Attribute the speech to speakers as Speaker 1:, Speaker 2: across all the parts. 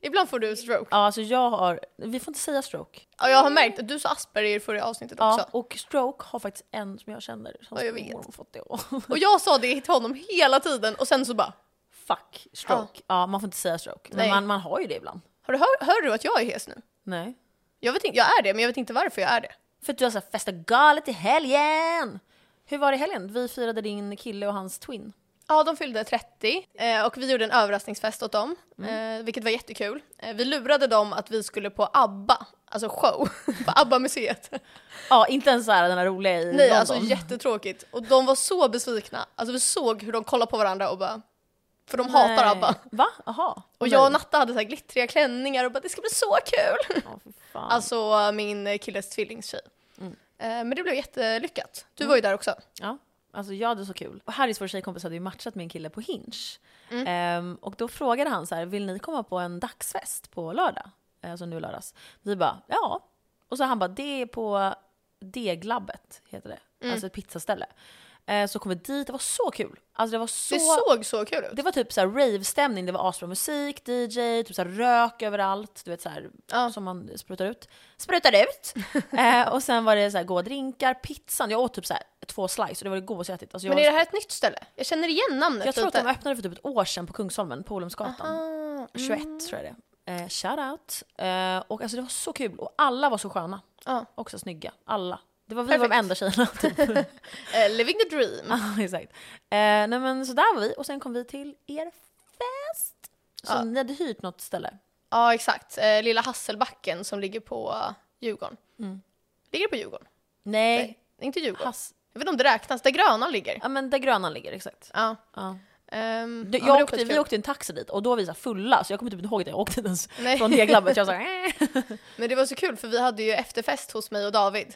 Speaker 1: Ibland får du stroke.
Speaker 2: Ja, alltså jag har, vi får inte säga stroke.
Speaker 1: Ja, jag har märkt att du sa Asperger i förra avsnittet
Speaker 2: Ja,
Speaker 1: också.
Speaker 2: och stroke har faktiskt en som jag känner som
Speaker 1: Ja, jag
Speaker 2: sin
Speaker 1: vet.
Speaker 2: mormor fått det.
Speaker 1: Och jag sa det till honom hela tiden och sen så bara,
Speaker 2: Fuck, stroke. Ja. man får inte säga stroke. Men
Speaker 1: Nej.
Speaker 2: man, man har ju det ibland.
Speaker 1: har du hör, hör du att jag är hes nu?
Speaker 2: Nej.
Speaker 1: Jag, vet inte, jag är det, men jag vet inte varför jag är det.
Speaker 2: För att du har såhär festa galet i helgen! Hur var det i helgen? Vi firade din kille och hans twin.
Speaker 1: Ja, de fyllde 30 eh, och vi gjorde en överraskningsfest åt dem, eh, vilket var jättekul. Eh, Vi lurade dem att vi skulle på ABBA, alltså show, på ABBA-museet.
Speaker 2: Ja, inte ens såhär den här roliga i
Speaker 1: Nej,
Speaker 2: London.
Speaker 1: alltså jättetråkigt. Och de var så besvikna. Alltså vi såg hur de kollade på varandra och bara... För de hatar
Speaker 2: Nej.
Speaker 1: ABBA.
Speaker 2: Va? Jaha.
Speaker 1: Och jag och Natta hade så här glittriga klänningar och bara det ska bli så kul!
Speaker 2: Ja, Mm. fy fan.
Speaker 1: Alltså min killes tvillingstjej. Eh, Men det blev jättelyckat.
Speaker 2: Mm.
Speaker 1: Du var ju där också.
Speaker 2: Ja, alltså jag hade så kul. Och Harrys vår tjejkompis hade ju matchat min kille på Hinge. Ehm, och då frågade han så här, vill ni komma på en dagsfest på lördag? Eh, Alltså nu lördags. Vi bara, ja. Och så han bara, det är på Deglabbet, heter det. Alltså ett pizzaställe. Eh, så kom vi dit, det var så kul. Alltså det var så...
Speaker 1: Det såg så kul ut.
Speaker 2: Det var typ så här rave-stämning, det var asbra musik, DJ, typ så här rök överallt, du vet så här,
Speaker 1: Ja.
Speaker 2: som man sprutar ut. Sprutar ut! eh, och sen var det så här goda drinkar, pizzan, jag åt typ så här två slice och det var det godaste jag ätit. Alltså jag,
Speaker 1: Men är det här ett nytt ställe? Jag känner igen namnet
Speaker 2: jag tror att
Speaker 1: lite.
Speaker 2: de öppnade för typ ett år sedan på Kungsholmen, på Olumsgatan.
Speaker 1: Ah,
Speaker 2: 21 tror jag det är. eh, Shoutout! Eh, och alltså det var så kul och alla var så sköna.
Speaker 1: Ja.
Speaker 2: Också snygga, alla. Det var vi var
Speaker 1: Perfekt.
Speaker 2: de enda tjejerna typ.
Speaker 1: eh, living the dream.
Speaker 2: Ja, exakt. Eh, nej men så där var vi och sen kom vi till er fest. Så
Speaker 1: Ja.
Speaker 2: ni hade hyrt något ställe.
Speaker 1: Ja, exakt. Eh, Lilla Hasselbacken som ligger på eh, Djurgården. Ligger det på Djurgården?
Speaker 2: Mm. Nej.
Speaker 1: Nej, inte Djurgården.
Speaker 2: Hass.
Speaker 1: Jag vet inte om det räknas, där Grönan ligger.
Speaker 2: Ja men där Grönan ligger, exakt.
Speaker 1: Ja.
Speaker 2: Mm. Ja.
Speaker 1: Ehm,
Speaker 2: Du,
Speaker 1: ja, men
Speaker 2: jag
Speaker 1: det är
Speaker 2: åkte,
Speaker 1: skitkul.
Speaker 2: vi åkte i en taxi dit och då var vi så här fulla så jag kommer typ inte ihåg att jag åkte ens
Speaker 1: Nej.
Speaker 2: från Deglabbet. Jag sa äh.
Speaker 1: Men det var så kul för vi hade ju efterfest hos mig och David.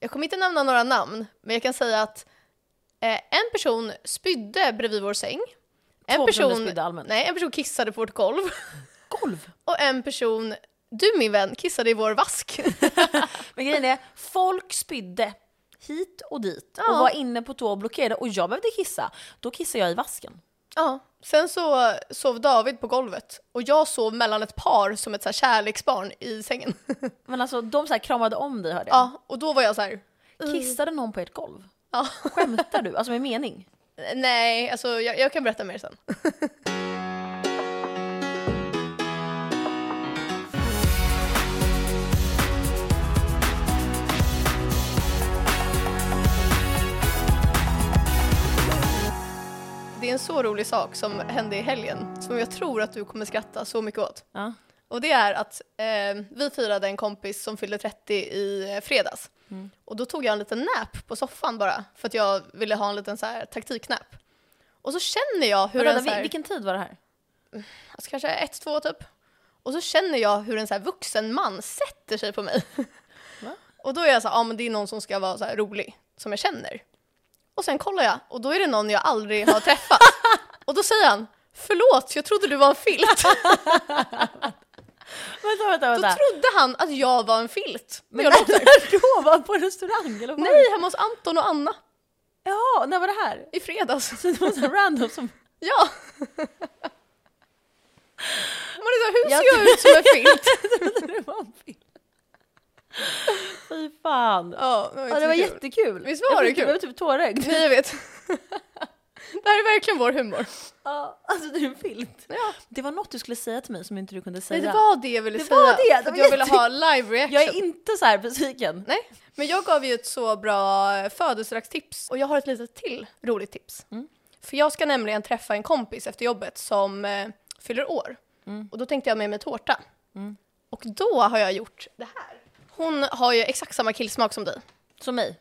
Speaker 1: Jag kommer inte nämna några namn, men jag kan säga att eh, en person spydde bredvid vår säng. En
Speaker 2: Två personer spydde allmänt.
Speaker 1: Nej, en person kissade på vårt golv.
Speaker 2: golv.
Speaker 1: Och en person, du min vän, kissade i vår vask.
Speaker 2: Men grejen är, folk spydde hit och dit och
Speaker 1: Ja.
Speaker 2: var inne på tå och blockerade och jag behövde kissa. Då kissade jag i vasken.
Speaker 1: ja. Sen så sov David på golvet och jag sov mellan ett par som ett så här kärleksbarn i sängen.
Speaker 2: Men alltså de så här kramade om dig hörde jag.
Speaker 1: Ja, och då var jag så här...
Speaker 2: Kissade någon på ert golv?
Speaker 1: Ja.
Speaker 2: Skämtar du? Alltså med mening?
Speaker 1: Nej, alltså jag, jag kan berätta mer sen. Det är en så rolig sak som hände i helgen som jag tror att du kommer skratta så mycket åt.
Speaker 2: Ja.
Speaker 1: Och det är att eh, vi firade en kompis som fyllde 30 i eh, fredags.
Speaker 2: Mm.
Speaker 1: Och då tog jag en liten nap på soffan bara, för att jag ville ha en liten så här, taktiknap. Och så känner jag hur en
Speaker 2: Vänta,
Speaker 1: så
Speaker 2: vil-
Speaker 1: här,
Speaker 2: vilken tid var det här?
Speaker 1: alltså, kanske ett, två typ. Och så känner jag hur en så här vuxen man sätter sig på mig.
Speaker 2: Va?
Speaker 1: Och då är jag så här, ja men det är någon som ska vara så här rolig, som jag känner. Och sen kollar jag, och då är det någon jag aldrig har träffat. och då säger han, förlåt, jag trodde du var en filt.
Speaker 2: Vänta, vänta,
Speaker 1: då trodde han att jag var en filt.
Speaker 2: Men
Speaker 1: jag låter.
Speaker 2: när då? Var han på restaurang eller? Nej!
Speaker 1: Nej, hemma hos Anton och Anna
Speaker 2: Ja, när var det här?
Speaker 1: i fredags.
Speaker 2: Så det var så här random som...
Speaker 1: Ja. Man är så, här, hur ser jag ut som en filt?
Speaker 2: det var en film. Fy fan.
Speaker 1: Ja,
Speaker 2: Ja, det var jättekul.
Speaker 1: Visst var det
Speaker 2: jag fick-
Speaker 1: kul?
Speaker 2: Jag blev typ tårögd.
Speaker 1: Nej, jag vet. Det här är verkligen vår humor.
Speaker 2: Ja, alltså det är en filt.
Speaker 1: Ja.
Speaker 2: Det var något du skulle säga till mig som inte du kunde
Speaker 1: Nej,
Speaker 2: säga.
Speaker 1: det var det jag ville
Speaker 2: Det
Speaker 1: säga.
Speaker 2: var det,
Speaker 1: För att
Speaker 2: det var
Speaker 1: jag ville
Speaker 2: jätte-
Speaker 1: ha live reaction.
Speaker 2: Jag är inte så här besviken.
Speaker 1: Nej, men jag gav ju ett så bra födelsedagstips och jag har ett litet till roligt tips.
Speaker 2: Mm.
Speaker 1: För jag ska nämligen träffa en kompis efter jobbet som eh, fyller år
Speaker 2: Mm.
Speaker 1: och då tänkte jag med mig tårta. Och då har jag gjort det här. Hon har ju exakt samma killsmak som dig.
Speaker 2: Som mig.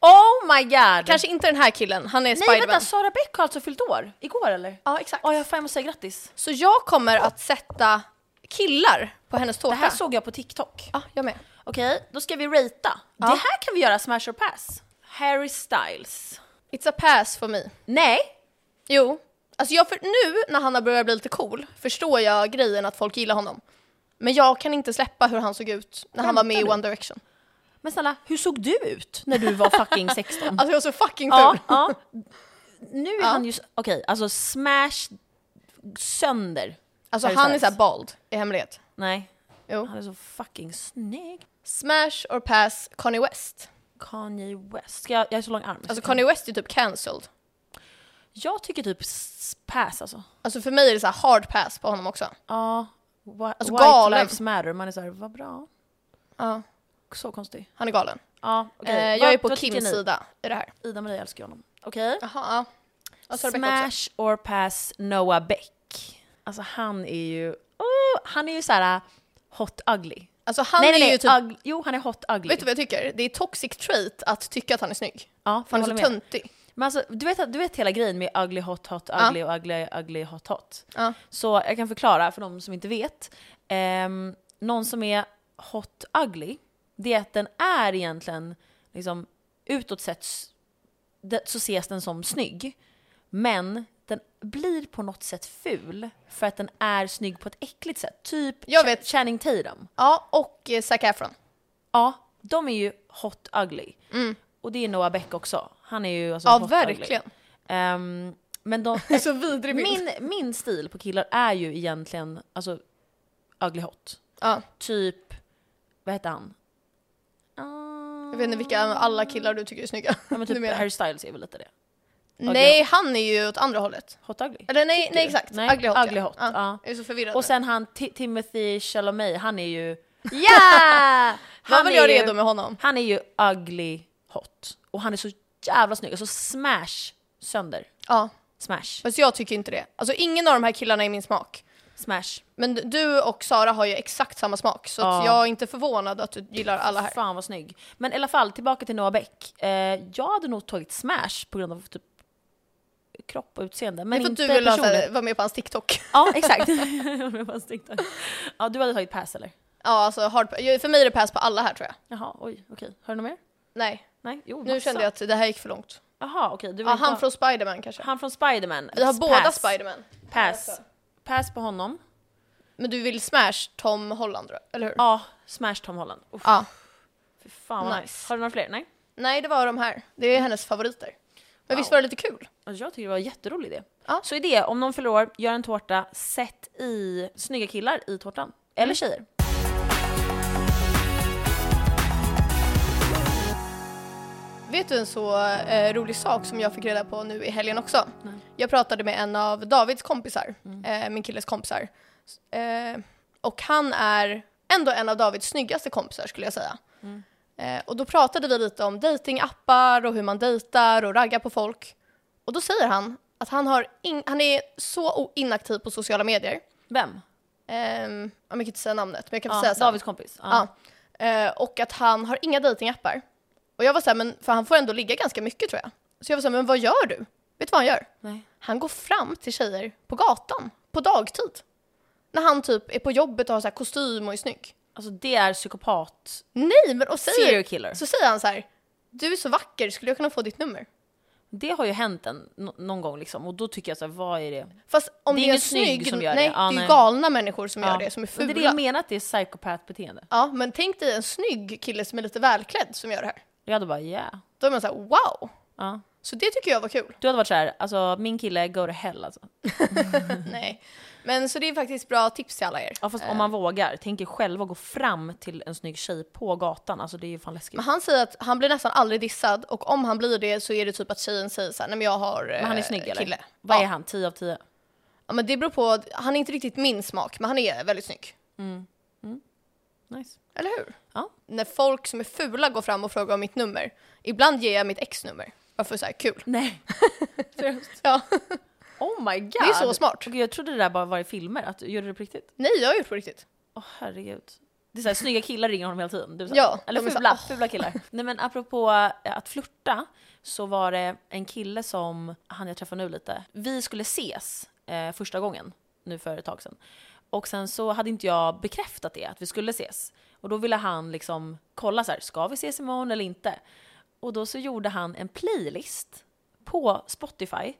Speaker 2: Oh my god!
Speaker 1: Kanske inte den här killen, han är
Speaker 2: Nej
Speaker 1: Spiderman.
Speaker 2: vänta, Sara Bäck har alltså fyllt år. Igår eller?
Speaker 1: Ja, exakt.
Speaker 2: Ja, jag fan jag måste säga grattis.
Speaker 1: Så jag kommer att sätta killar på hennes tårta.
Speaker 2: Det här såg jag på TikTok.
Speaker 1: Ja, jag med.
Speaker 2: Okej, då ska vi ratea. Det här kan vi göra smash or pass. Harry Styles.
Speaker 1: It's a pass for me.
Speaker 2: Nej,
Speaker 1: Jo. Alltså jag för, nu när han har börjat bli lite cool förstår jag grejen att folk gillar honom. Men jag kan inte släppa hur han såg ut när han var med i
Speaker 2: Skämtar
Speaker 1: One Direction.
Speaker 2: men snälla, hur såg du ut när du var fucking 16?
Speaker 1: Alltså jag var så fucking ful.
Speaker 2: Ja, ja. Nu är han ju... s- Okej, alltså smash sönder.
Speaker 1: Alltså
Speaker 2: Harry
Speaker 1: han är
Speaker 2: Styles.
Speaker 1: såhär bald i hemlighet.
Speaker 2: Nej,
Speaker 1: Jo.
Speaker 2: han är så fucking snygg.
Speaker 1: Smash or pass Kanye West.
Speaker 2: Kanye West. Ska jag, jag har så lång arm. så
Speaker 1: Alltså
Speaker 2: jag kan-
Speaker 1: Kanye West är typ cancelled.
Speaker 2: Jag tycker typ s- pass alltså.
Speaker 1: Alltså för mig är det såhär hard pass på honom också.
Speaker 2: Ja. whi-
Speaker 1: Alltså,
Speaker 2: white
Speaker 1: galen.
Speaker 2: lives matter. Man är såhär, vad bra.
Speaker 1: Ja,
Speaker 2: Så konstig.
Speaker 1: han är galen.
Speaker 2: Ja, okej.
Speaker 1: Eh,
Speaker 2: Vad-
Speaker 1: jag är på
Speaker 2: vad tycker
Speaker 1: Kims
Speaker 2: ni?
Speaker 1: sida i det här.
Speaker 2: Ida-Maria älskar ju honom. Okej.
Speaker 1: Jaha, ja. Och så har Rebecca också.
Speaker 2: Smash or pass Noah Beck. Alltså han är ju, oh, han är ju såhär hot ugly.
Speaker 1: Alltså han
Speaker 2: nej, nej,
Speaker 1: är
Speaker 2: nej,
Speaker 1: ju typ...
Speaker 2: ugly. Jo han är hot ugly.
Speaker 1: Vet du vad jag tycker? Det är toxic trait att tycka att han är snygg.
Speaker 2: ja,
Speaker 1: För
Speaker 2: jag
Speaker 1: han är
Speaker 2: håller
Speaker 1: så
Speaker 2: med.
Speaker 1: töntig.
Speaker 2: Men alltså, du, vet, att- du vet hela grejen med ugly hot hot
Speaker 1: Ja.
Speaker 2: ugly och ugly ugly hot hot.
Speaker 1: Ja.
Speaker 2: Så jag kan förklara för de som inte vet. Ehm, någon som är hot ugly, det är att den är egentligen liksom utåt sett s- det- så ses den som snygg. Men den blir på något sätt ful för att den är snygg på ett äckligt sätt. Typ
Speaker 1: Jag
Speaker 2: Cha-
Speaker 1: vet.
Speaker 2: Channing Tatum.
Speaker 1: Ja, och eh, Zac Efron. Mm.
Speaker 2: Ja, de är ju hot ugly. Och det är Noah Beck också. Han är ju alltså
Speaker 1: Ja,
Speaker 2: hot ugly.
Speaker 1: verkligen.
Speaker 2: Ehm, men de,
Speaker 1: liksom. Det är så vidrig bild.
Speaker 2: min, min stil på killar är ju egentligen alltså, ugly hot.
Speaker 1: Ja,
Speaker 2: Typ, vad heter han? Ah.
Speaker 1: jag vet inte vilka alla killar du tycker är snygga.
Speaker 2: Ja, men
Speaker 1: Du
Speaker 2: typ
Speaker 1: menar.
Speaker 2: Harry Styles är väl lite det.
Speaker 1: Nej, han är ju åt andra hållet.
Speaker 2: Hot ugly.
Speaker 1: Eller nej, nej
Speaker 2: du?
Speaker 1: exakt.
Speaker 2: Nej,
Speaker 1: Ugly hot.
Speaker 2: ugly hot,
Speaker 1: Ja.
Speaker 2: ja.
Speaker 1: Jag är så förvirrad
Speaker 2: Och
Speaker 1: och
Speaker 2: sen han Ti- Timothy Chalamet, han är ju... Ja!
Speaker 1: Han vill jag
Speaker 2: är ju-
Speaker 1: redo med honom.
Speaker 2: Han är ju ugly hot. Och han är så jävla snygg. Alltså smash sönder.
Speaker 1: Ja,
Speaker 2: Smash.
Speaker 1: fast jag tycker inte det. Alltså ingen av de här killarna är min smak.
Speaker 2: Smash.
Speaker 1: Men du och Sara har ju exakt samma smak så att
Speaker 2: Ja.
Speaker 1: jag är inte förvånad att du gillar alla här.
Speaker 2: Fan vad snygg. Men i alla fall, tillbaka till Noah Beck. Eh, jag hade nog tagit smash på grund av typ kropp och utseende.
Speaker 1: det
Speaker 2: Men
Speaker 1: är för att
Speaker 2: inte
Speaker 1: du vill ha, så
Speaker 2: personlighet.
Speaker 1: här, vara med på hans TikTok.
Speaker 2: Ja, exakt. Det var en TikTok. ja, du hade tagit pass eller?
Speaker 1: Ja, alltså hard, jag- för mig är det pass på alla här tror jag.
Speaker 2: Jaha, oj, okej. Har du något mer?
Speaker 1: Nej,
Speaker 2: Nej, jo,
Speaker 1: nu kände jag att det här gick för långt.
Speaker 2: Jaha, okej. Du
Speaker 1: Ja,
Speaker 2: vill
Speaker 1: han
Speaker 2: ta-
Speaker 1: från Spiderman kanske.
Speaker 2: han från Spiderman.
Speaker 1: Vi har båda
Speaker 2: Pass.
Speaker 1: Spiderman.
Speaker 2: Pass. Pass på honom.
Speaker 1: Men du vill smash Tom Holland, eller hur?
Speaker 2: Ja, smash Tom Holland. Uff,
Speaker 1: Ja.
Speaker 2: fy fan vad
Speaker 1: Nice.
Speaker 2: nice. Har du några fler? Nej?
Speaker 1: Nej, det var de här. Det är hennes favoriter. Men
Speaker 2: Wow.
Speaker 1: visst var det lite kul?
Speaker 2: Alltså, jag tycker det var en jätterolig idé.
Speaker 1: Ja.
Speaker 2: Så idé, om någon fyller år, gör en tårta, sätt i snygga killar i tårtan. Eller
Speaker 1: Mm.
Speaker 2: tjejer.
Speaker 1: Vet du en så eh, rolig sak som jag fick reda på nu i helgen också? Jag pratade med en av Davids kompisar, eh, min killes kompisar. S- Eh, och han är ändå en av Davids snyggaste kompisar skulle jag säga. Eh, och då pratade vi lite om datingappar och hur man dejtar och raggar på folk. Och då säger han att han, har in- han är så o- inaktiv på sociala medier.
Speaker 2: Vem?
Speaker 1: Ehm, ja, men jag kan inte säga namnet, men jag kan få
Speaker 2: Ja,
Speaker 1: säga sen.
Speaker 2: Davids kompis. Ja.
Speaker 1: Ja. Eh, och att han har inga datingappar. Och jag var såhär, men för han får ändå ligga ganska mycket tror jag. Så jag var såhär, men vad gör du? Vet du vad han gör?
Speaker 2: Nej.
Speaker 1: Han går fram till tjejer på gatan, på dagtid. När han typ är på jobbet och har så här kostym och är snygg.
Speaker 2: Alltså det är psykopat.
Speaker 1: Nej, men och
Speaker 2: Serial
Speaker 1: säger,
Speaker 2: killer.
Speaker 1: så säger han så här, du är så vacker, skulle jag kunna få ditt nummer?
Speaker 2: Det har ju hänt en, nå- någon gång liksom och då tycker jag så här, vad är det?
Speaker 1: Fast om
Speaker 2: Det
Speaker 1: det är,
Speaker 2: är ingen
Speaker 1: en
Speaker 2: snygg
Speaker 1: snygg,
Speaker 2: som gör det.
Speaker 1: nej, det
Speaker 2: Ja,
Speaker 1: är
Speaker 2: nej.
Speaker 1: ju galna människor som
Speaker 2: Ja.
Speaker 1: gör det, som är fula.
Speaker 2: Men det är det jag menar att det är psykopatbeteende.
Speaker 1: Ja, men tänk dig en snygg kille som är lite välklädd som gör det här.
Speaker 2: Jag hade bara yeah.
Speaker 1: Då är man så här, wow!
Speaker 2: Ja.
Speaker 1: Så det tycker jag var kul.
Speaker 2: Du hade varit såhär, alltså min kille go to hell alltså.
Speaker 1: Nej. Men så det är faktiskt bra tips till alla er.
Speaker 2: Ja fast om man
Speaker 1: Eh.
Speaker 2: vågar, tänk er själv att gå fram till en snygg tjej på gatan, alltså det är ju fan läskigt.
Speaker 1: Men han säger att han blir nästan aldrig dissad och om han blir det så är det typ att tjejen säger såhär, nej men jag har
Speaker 2: Men han är
Speaker 1: eh,
Speaker 2: snygg eller?
Speaker 1: kille.
Speaker 2: Vad
Speaker 1: ja.
Speaker 2: är han, 10 av 10?
Speaker 1: ja men det beror på, han är inte riktigt min smak men han är väldigt snygg.
Speaker 2: Nice.
Speaker 1: Eller hur?
Speaker 2: Ja.
Speaker 1: När folk som är fula går fram och frågar om mitt nummer, ibland ger jag mitt ex-nummer. Varför såhär kul?
Speaker 2: Nej.
Speaker 1: Ja.
Speaker 2: Oh my god!
Speaker 1: Det är så smart.
Speaker 2: Okej, jag trodde det där bara var i filmer, att du gjorde det på riktigt.
Speaker 1: Nej jag har gjort på riktigt.
Speaker 2: Åh herregud. Det är såhär, snygga killar ringer honom hela tiden. Du är så här,
Speaker 1: Ja,
Speaker 2: eller
Speaker 1: de är så-
Speaker 2: fula, fula killar. Nej men apropå eh, att flirta så var det en kille som, han jag träffar nu lite, vi skulle ses eh, första gången nu för ett tag sedan. Och sen så hade inte jag bekräftat det, att vi skulle ses. Och då ville han liksom kolla så här, ska vi ses imorgon eller inte? Och då så gjorde han en playlist på Spotify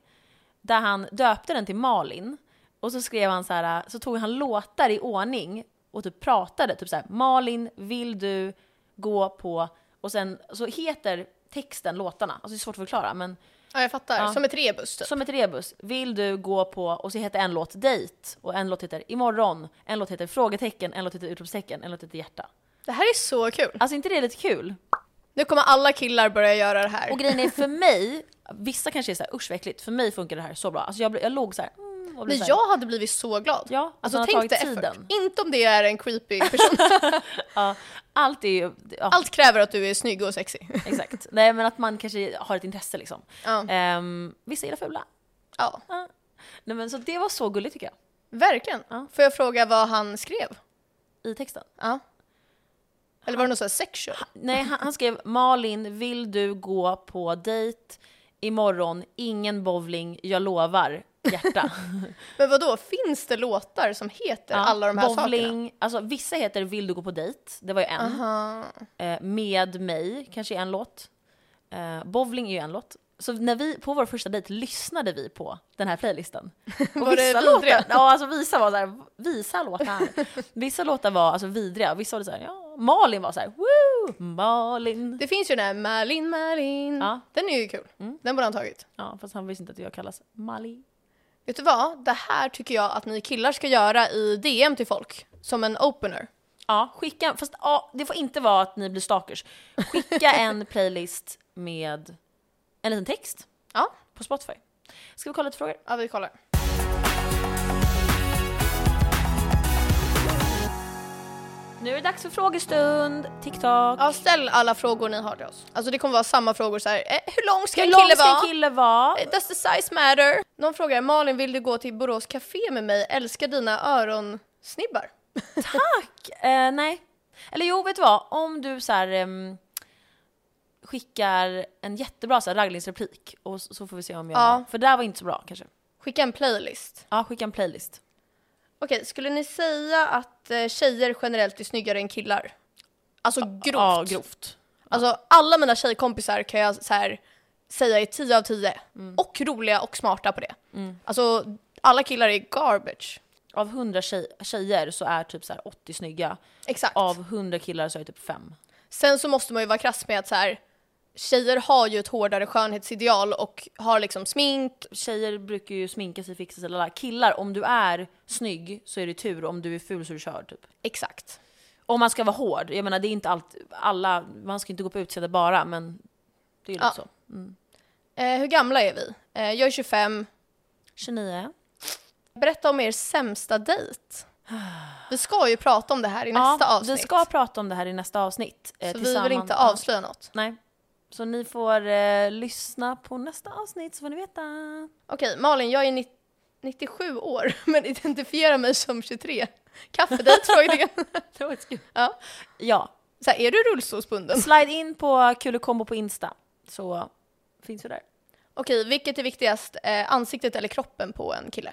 Speaker 2: där han döpte den till Malin. Och så skrev han så här, så tog han låtar i ordning och typ pratade typ så här, Malin, vill du gå på... Och sen så heter texten låtarna, alltså det är svårt att förklara men
Speaker 1: Ja, Ja, jag fattar.
Speaker 2: Ja.
Speaker 1: Som ett rebus typ.
Speaker 2: Som ett rebus. Vill du gå på, och så heter en låt dejt, och en låt heter imorgon, en låt heter frågetecken, en låt heter utropstecken, en låt heter hjärta.
Speaker 1: Det här är så kul.
Speaker 2: Alltså inte det är lite kul?
Speaker 1: Nu kommer alla killar börja göra det här.
Speaker 2: Och grejen är för mig, vissa kanske är såhär usch vad äckligt, för mig funkar det här så bra. Alltså jag, blev- jag låg såhär, mm, och blev
Speaker 1: Men
Speaker 2: så här,
Speaker 1: jag hade blivit så glad.
Speaker 2: Ja, att
Speaker 1: alltså
Speaker 2: man har
Speaker 1: tänk
Speaker 2: tagit
Speaker 1: dig effort.
Speaker 2: tiden.
Speaker 1: Inte om det är en creepy person.
Speaker 2: ja, allt är ju, ja,
Speaker 1: Allt kräver att du är snygg och sexig.
Speaker 2: exakt. Nej men att man kanske har ett intresse liksom.
Speaker 1: Ja.
Speaker 2: Ehm, vissa gillar fula.
Speaker 1: Ja,
Speaker 2: Ja. Nej men så det var så gulligt tycker
Speaker 1: verkligen.
Speaker 2: Ja.
Speaker 1: Får jag fråga vad han skrev?
Speaker 2: jag, i texten.
Speaker 1: Ja. Eller var det något sånt sexual?
Speaker 2: Nej, han, han skrev “Malin, vill du gå på dejt imorgon? Ingen bowling, jag lovar. Hjärta.”
Speaker 1: Men vad då? finns det låtar som heter alla de här sakerna?
Speaker 2: Bowling, alltså vissa heter “Vill du gå på dejt?” Det var ju en.
Speaker 1: Aha.
Speaker 2: Eh, “Med mig” kanske är en låt. Eh, bowling är ju en låt. Så när vi, på vår första dejt lyssnade vi på den här playlisten. Och
Speaker 1: Var det vidriga?
Speaker 2: låtar, ja, alltså vissa var såhär, visa låtar. Vissa låtar var alltså vidriga, vissa var det såhär, ja, Malin var såhär, woo, Malin.
Speaker 1: Det finns ju den här Malin, Malin.
Speaker 2: Ja. Mm.
Speaker 1: Den är ju kul. Den borde han tagit.
Speaker 2: Ja, fast han visste inte att jag kallas Malin.
Speaker 1: Vet du vad? Det här tycker jag att ni killar ska göra i DM till folk. Som en opener.
Speaker 2: Ja, skicka, fast ja, det får inte vara att ni blir stalkers. Skicka en playlist med en liten text
Speaker 1: Ja,
Speaker 2: på Spotify. Ska vi kolla lite frågor?
Speaker 1: ja vi kollar.
Speaker 2: Nu är det dags för frågestund, TikTok.
Speaker 1: Ja, ställ alla frågor ni har till oss. Alltså det kommer vara samma frågor så här. Eh, hur lång ska
Speaker 2: Hur
Speaker 1: en
Speaker 2: lång
Speaker 1: kille
Speaker 2: ska en
Speaker 1: vara?
Speaker 2: kille vara?
Speaker 1: Eh, Does the size matter? Någon frågar Malin vill du gå till Borås Café med mig? Älskar dina öronsnibbar.
Speaker 2: Tack! Eh, nej. Eller jo, vet du vad? Om du så här, ehm, skickar en jättebra så här, ragglingsreplik och så, så får vi se om jag...
Speaker 1: Ja.
Speaker 2: För det där var inte så bra kanske.
Speaker 1: Skicka en playlist.
Speaker 2: Ja, skicka en playlist.
Speaker 1: Okej, skulle ni säga att eh, tjejer generellt är snyggare än killar? Alltså grovt.
Speaker 2: Ja, grovt.
Speaker 1: Alltså alla mina tjejkompisar kan jag så här säga är 10 av 10.
Speaker 2: Mm.
Speaker 1: Och roliga och smarta på det. Alltså alla killar är garbage.
Speaker 2: Av 100 tjej, tjejer så är typ så här 80 snygga.
Speaker 1: Exakt.
Speaker 2: Av 100 killar så är det typ 5.
Speaker 1: Sen så måste man ju vara krass med att så här, tjejer har ju ett hårdare skönhetsideal och har liksom smink.
Speaker 2: Tjejer brukar ju sminka sig, fixa sig, lalala. Killar, om du är snygg så är det tur, om du är ful så är du körd typ.
Speaker 1: Exakt.
Speaker 2: Om man ska vara hård, jag menar det är inte allt, alla, man ska inte gå på utseende bara men det är ju
Speaker 1: Ja.
Speaker 2: lite så.
Speaker 1: Eh, hur gamla är vi? Eh, jag är 25.
Speaker 2: 29.
Speaker 1: Berätta om er sämsta dejt. Vi ska ju prata om det här i nästa avsnitt.
Speaker 2: Vi ska prata om det här i nästa avsnitt. eh,
Speaker 1: så vi
Speaker 2: tillsammans-
Speaker 1: vill inte avslöja något.
Speaker 2: Nej. Så ni får eh, lyssna på nästa avsnitt så får ni veta.
Speaker 1: Okej, Malin, jag är ni- 97 år men identifierar mig som 23. Kaffedejt? frågetecken.
Speaker 2: Det var ett
Speaker 1: ja.
Speaker 2: Ja,
Speaker 1: Så här, är du rullstolsbunden?
Speaker 2: slide in på Kulekombo på Insta så finns vi där.
Speaker 1: Okej, vilket är viktigast? Eh, ansiktet eller kroppen på en kille?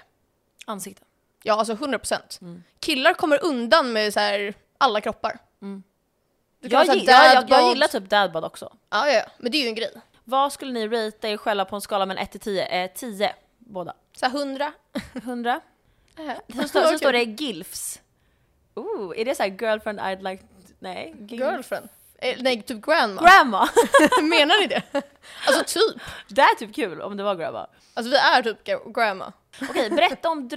Speaker 2: Ansikte.
Speaker 1: Ja, alltså 100 procent.
Speaker 2: Mm.
Speaker 1: Killar kommer undan med så här, alla kroppar. Mm. Du kan
Speaker 2: Jag,
Speaker 1: ha så
Speaker 2: gi-
Speaker 1: här
Speaker 2: jag, jag, jag
Speaker 1: dadbod.
Speaker 2: gillar typ dadbod också.
Speaker 1: Ja, ja, ja, men det är ju en grej.
Speaker 2: Vad skulle ni ratea er själva på en skala mellan 1 till 10? Eh, 10 båda.
Speaker 1: Så här, 100.
Speaker 2: 100?
Speaker 1: Eh,
Speaker 2: Sen står, sen
Speaker 1: okej.
Speaker 2: står det GILFs. Ooh, är det så här girlfriend I'd like... Nej. Gilf.
Speaker 1: Girlfriend. Eh, nej, typ grandma.
Speaker 2: Grandma!
Speaker 1: Menar ni det? Alltså typ.
Speaker 2: det är typ kul om det var grandma.
Speaker 1: Alltså vi är typ gra- grandma.
Speaker 2: Okej, berätta om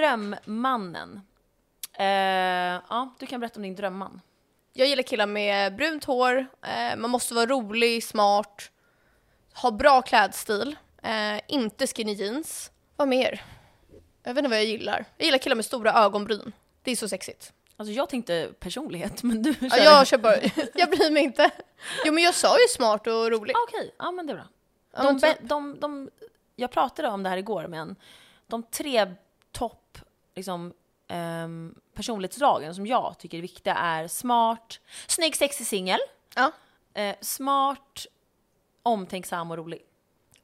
Speaker 2: drömmannen. Eh, ja, du kan berätta om din drömman.
Speaker 1: Jag gillar killar med brunt hår, eh, man måste vara rolig, smart, ha bra klädstil, eh, inte skinny jeans. Vad mer? Jag vet inte vad jag gillar. Jag gillar killar med stora ögonbryn. Det är så sexigt.
Speaker 2: Alltså jag tänkte personlighet, men du
Speaker 1: Ja, jag kör bara, jag bryr mig inte. Jo men jag sa ju smart och rolig.
Speaker 2: Ah, Okej, ja men det är bra.
Speaker 1: Ja,
Speaker 2: De,
Speaker 1: men
Speaker 2: be,
Speaker 1: typ.
Speaker 2: de, de, jag pratade om det här igår med en. De tre topp liksom, ehm, personlighetsdragen som jag tycker är viktiga är smart, snygg, sexig singel,
Speaker 1: Ja.
Speaker 2: eh, smart, omtänksam och rolig.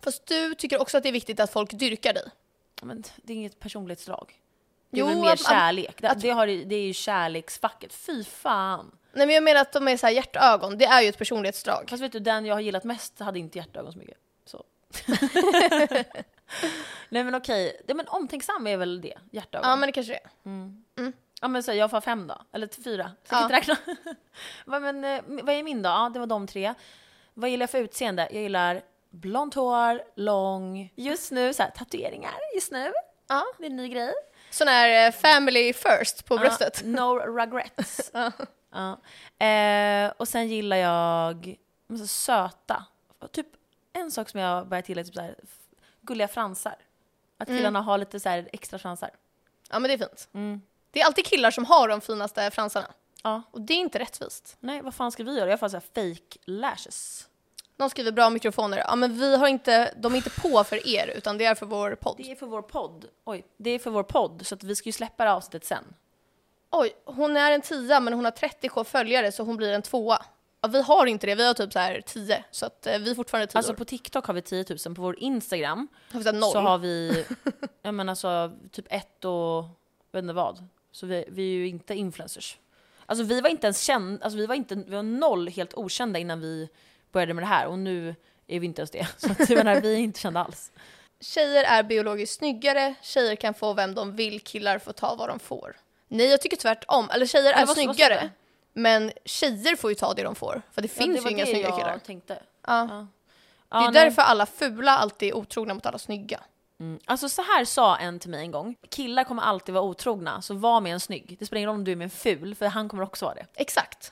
Speaker 1: Fast du tycker också att det är viktigt att folk dyrkar dig.
Speaker 2: Ja, Men det är inget personlighetsdrag. Det är
Speaker 1: Jo,
Speaker 2: väl
Speaker 1: att-
Speaker 2: mer
Speaker 1: att-
Speaker 2: kärlek. Det, det, har, det är ju kärleksfacket. Fy fan!
Speaker 1: Nej men jag menar att de är så här hjärtögon, det är ju ett personlighetsdrag.
Speaker 2: Fast vet du, den jag har gillat mest hade inte hjärtögon så mycket. Så. Nej men okej, ja, men omtänksam är väl det, hjärtögon.
Speaker 1: Ja men det kanske det är.
Speaker 2: Ja men så jag får fem då, eller t- fyra. Så jag
Speaker 1: Mm. Ja.
Speaker 2: kan inte räkna. Va, men, eh, vad är min då? Ja, det var de tre. Vad gillar jag för utseende? Jag gillar blont hår, lång. Just nu så här, tatueringar just nu.
Speaker 1: Ja.
Speaker 2: Det är en ny grej.
Speaker 1: Sån här eh, family first på
Speaker 2: Ja,
Speaker 1: bröstet.
Speaker 2: no regrets.
Speaker 1: Ja.
Speaker 2: Ja. Eh, och sen gillar jag men så söta. Och Typ en sak som jag börjat gilla är typ så här, f- gulliga fransar. Att
Speaker 1: Mm.
Speaker 2: killarna har lite så här extra fransar. Mm.
Speaker 1: Ja men det är fint. Det är alltid killar som har de finaste fransarna.
Speaker 2: Ja.
Speaker 1: Och det är inte rättvist.
Speaker 2: Nej, vad fan ska vi göra? Jag får så här fake lashes.
Speaker 1: Någon skriver bra mikrofoner. Ja men vi har inte, de är inte på för er utan det är för vår podd.
Speaker 2: Det är för vår podd. Oj, det är för vår podd. Så att vi ska ju släppa det här avsnittet sen.
Speaker 1: Oj, hon är en tia men hon har 30k följare så hon blir en tvåa. Ja, vi har inte det, vi har typ så här 10 så att eh, vi är fortfarande 10
Speaker 2: Alltså på TikTok har vi 10 000, på vår Instagram
Speaker 1: har vi sagt noll.
Speaker 2: så har vi, jag menar alltså typ ett och, vet inte vad. Så vi, vi är ju inte influencers. Alltså vi var inte ens kända, alltså vi var inte, vi var noll helt okända innan vi började med det här och nu är vi inte ens det. Så att, jag menar, vi är inte kända alls.
Speaker 1: Tjejer är biologiskt snyggare, tjejer kan få vem de vill, killar får ta vad de får. Nej, jag tycker tvärtom. Eller tjejer är
Speaker 2: vad- vad sa
Speaker 1: snyggare,
Speaker 2: du?
Speaker 1: men tjejer får ju ta det de får. För det finns ju inga snygga killar.
Speaker 2: jag tänkte.
Speaker 1: Ja.
Speaker 2: Ja,
Speaker 1: det är
Speaker 2: nej.
Speaker 1: därför alla fula alltid är otrogna mot alla snygga.
Speaker 2: Alltså så här sa en till mig en gång, killar kommer alltid vara otrogna, så var med en snygg. Det spelar ingen roll om du är med en ful, för han kommer också vara det.
Speaker 1: Exakt.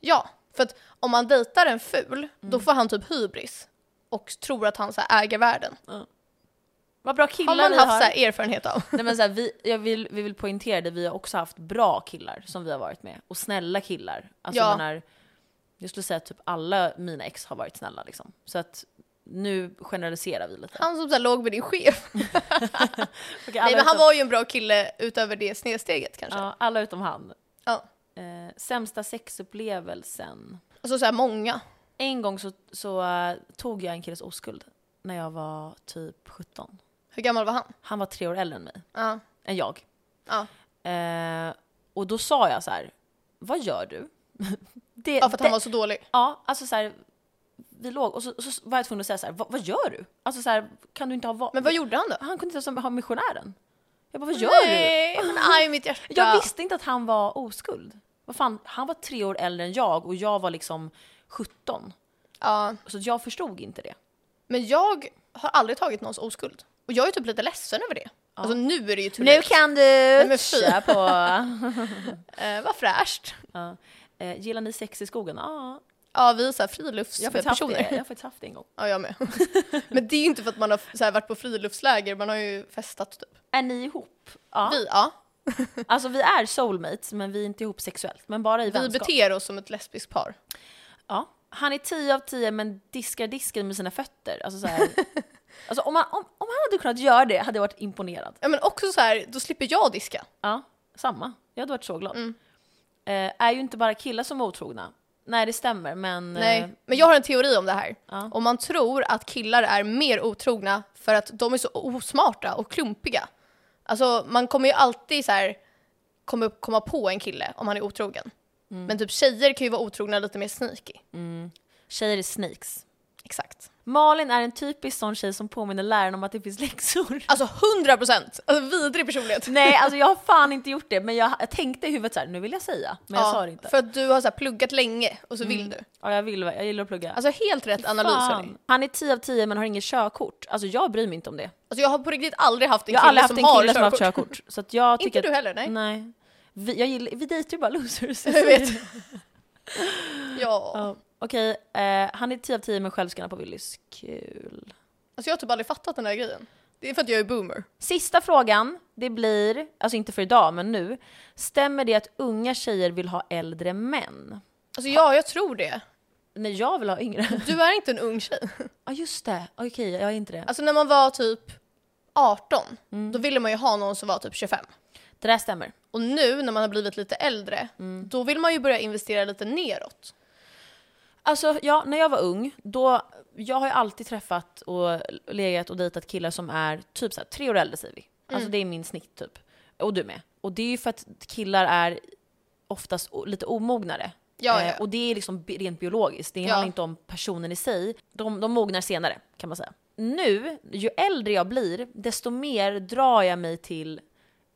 Speaker 1: Ja, för att om man dejtar en ful,
Speaker 2: Mm.
Speaker 1: då får han typ hybris och tror att han så här äger världen.
Speaker 2: Vad bra
Speaker 1: Har
Speaker 2: killar
Speaker 1: man
Speaker 2: vi
Speaker 1: haft
Speaker 2: har.
Speaker 1: så här erfarenhet av.
Speaker 2: Nej, men så här, vi, jag vill, vi vill poängtera det, vi har också haft bra killar som vi har varit med. Och snälla killar. Alltså,
Speaker 1: Ja.
Speaker 2: jag, menar, jag skulle säga att typ alla mina ex har varit snälla. Liksom. Så att nu generaliserar vi lite.
Speaker 1: Han som så här låg med din chef.
Speaker 2: Okej, alla,
Speaker 1: Nej men han
Speaker 2: utom,
Speaker 1: var ju en bra kille utöver det snedsteget kanske.
Speaker 2: ja, alla utom han.
Speaker 1: Ja.
Speaker 2: Eh, sämsta sexupplevelsen.
Speaker 1: Alltså så här många.
Speaker 2: En gång så, så eh, tog jag en killes oskuld när jag var typ 17.
Speaker 1: Hur gammal var han?
Speaker 2: Han var tre år äldre än mig.
Speaker 1: Ja.
Speaker 2: Än jag.
Speaker 1: Ja.
Speaker 2: Eh, och då sa jag så här, vad gör du? Det,
Speaker 1: ja, för att
Speaker 2: det-
Speaker 1: han var så dålig.
Speaker 2: Ja, alltså så här, vi låg och så, och så var jag tvungen att säga så här, "Vad- vad gör du? Alltså så här, kan du inte ha va-
Speaker 1: Men vad gjorde han då?
Speaker 2: Han kunde inte ens ha missionären. Jag bara, vad gör
Speaker 1: Nej, men aj mitt hjärta.
Speaker 2: du? Jag visste inte att han var oskuld. Vad fan, han var tre år äldre än jag och jag var liksom 17.
Speaker 1: Ja.
Speaker 2: Så jag förstod inte det.
Speaker 1: Men jag har aldrig tagit någons oskuld. Och jag är typ lite ledsen över det. Alltså nu är det ju tur.
Speaker 2: Nu kan du
Speaker 1: men fy.
Speaker 2: köra på.
Speaker 1: Eh, vad fräscht.
Speaker 2: ja. eh, gillar ni sex i skogen? Ja,
Speaker 1: Ja, vi är såhär
Speaker 2: jag har faktiskt haft det.
Speaker 1: friluftspersoner.
Speaker 2: Jag har faktiskt haft det en gång.
Speaker 1: Ja, jag med. Men det är ju inte för att man har så här, varit på friluftsläger, man har ju festat typ.
Speaker 2: Är ni ihop? Ja.
Speaker 1: Vi, ja,
Speaker 2: Alltså vi är soulmates men vi är inte ihop sexuellt. Men bara i
Speaker 1: vi
Speaker 2: vänskap.
Speaker 1: beter oss som ett lesbiskt par.
Speaker 2: Ja. Han är 10 av 10 men diskar disken med sina fötter. Alltså, så här. alltså om, han, om, om han hade kunnat göra det hade jag varit imponerad.
Speaker 1: Ja, men också så här, då slipper jag diska.
Speaker 2: Ja, Mm. samma. Jag hade varit så glad. Eh, är ju inte bara killar som är otrogna. Nej det stämmer men... Eh,
Speaker 1: Nej. Men jag har en teori om det här.
Speaker 2: Ja.
Speaker 1: Om man tror att killar är mer otrogna för att de är så osmarta och klumpiga. Alltså man kommer ju alltid så här komma, komma på en kille om han är otrogen.
Speaker 2: Mm.
Speaker 1: Men typ tjejer kan ju vara otrogna lite mer sneaky.
Speaker 2: tjejer är snakes.
Speaker 1: Exakt.
Speaker 2: Malin är en typisk sån tjej som påminner läraren om att det finns läxor.
Speaker 1: Alltså 100 procent! Alltså vidrig personlighet.
Speaker 2: Nej alltså jag har fan inte gjort det men jag, jag tänkte i huvudet så här, nu vill jag säga. Men jag
Speaker 1: Ja,
Speaker 2: sa det inte.
Speaker 1: För att du har så här pluggat länge och så vill du.
Speaker 2: Ja, jag, vill, jag gillar att plugga.
Speaker 1: Alltså helt rätt analys hörni.
Speaker 2: Fan. Han är 10 av 10 men har inget körkort. Alltså jag bryr mig inte om det.
Speaker 1: Alltså jag har på riktigt aldrig haft en
Speaker 2: Jag har
Speaker 1: kille
Speaker 2: aldrig haft
Speaker 1: som
Speaker 2: en
Speaker 1: har
Speaker 2: kille som har haft
Speaker 1: körkort.
Speaker 2: körkort. Så att jag tycker
Speaker 1: Inte du
Speaker 2: att,
Speaker 1: heller nej.
Speaker 2: Nej. Vi, jag gillar, vi dejtar ju bara losers.
Speaker 1: Jag vet. Ja.
Speaker 2: Ja. Okej, eh, han är 10 av 10 men självskannar på Willys. Kul.
Speaker 1: Alltså jag har typ aldrig fattat den där grejen. Det är för att jag är boomer.
Speaker 2: Sista frågan, det blir, alltså inte för idag men nu. Stämmer det att unga tjejer vill ha äldre män?
Speaker 1: Alltså ja, jag tror det.
Speaker 2: Nej, jag vill ha yngre.
Speaker 1: Du är inte en ung tjej.
Speaker 2: Ja just det, okej jag är inte det.
Speaker 1: Alltså när man var typ 18, då ville man ju ha någon som var typ 25.
Speaker 2: Det där stämmer.
Speaker 1: Och nu när man har blivit lite äldre, då vill man ju börja investera lite neråt.
Speaker 2: Alltså ja, när jag var ung, då, jag har ju alltid träffat och legat och dejtat killar som är typ så här, tre år äldre säger vi. Alltså det är min snitt typ. Och du med. Och det är ju för att killar är oftast o- lite omognare.
Speaker 1: Ja, ja.
Speaker 2: Eh, och det är liksom bi- rent biologiskt, det
Speaker 1: Ja.
Speaker 2: handlar inte om personen i sig. De, de mognar senare kan man säga. Nu, ju äldre jag blir, desto mer drar jag mig till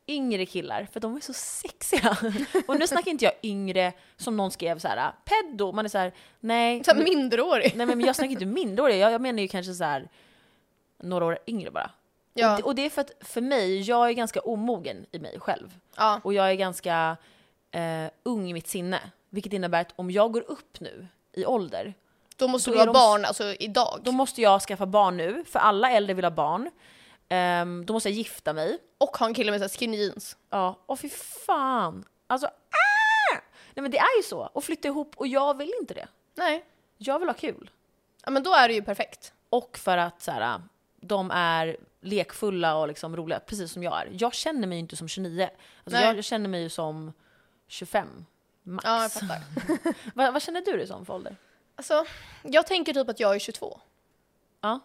Speaker 2: yngre killar, för de är så sexiga. Och nu snackar inte jag yngre som någon skrev så här, peddo, man är så här, nej.
Speaker 1: Så här minderårig.
Speaker 2: Nej men jag snackar inte minderåriga, jag, jag menar ju kanske så här några år yngre bara.
Speaker 1: Ja.
Speaker 2: Och, det, och det är för att för mig, jag är ganska omogen i mig själv.
Speaker 1: ja.
Speaker 2: Och jag är ganska eh, ung i mitt sinne. Vilket innebär att om jag går upp nu i ålder,
Speaker 1: Då måste
Speaker 2: Då
Speaker 1: du
Speaker 2: är
Speaker 1: ha
Speaker 2: de-
Speaker 1: barn alltså idag.
Speaker 2: då måste jag skaffa barn nu, för alla äldre vill ha barn. Ehm, då måste jag gifta mig.
Speaker 1: Och ha en kille med så här skinny jeans.
Speaker 2: Ja, åh fy fan. Alltså, ah! Nej men det är ju så. Och flytta ihop, och jag vill inte det.
Speaker 1: Nej.
Speaker 2: Jag vill ha kul.
Speaker 1: Ja men då är det ju perfekt.
Speaker 2: Och för att så här, de är lekfulla och liksom roliga, precis som jag är. Jag känner mig ju inte som 29. Alltså,
Speaker 1: Nej.
Speaker 2: jag, jag känner mig ju som 25, max.
Speaker 1: Ja, jag fattar.
Speaker 2: Va, vad känner du dig som för ålder?
Speaker 1: Alltså, jag tänker typ att jag är 22.
Speaker 2: Ja,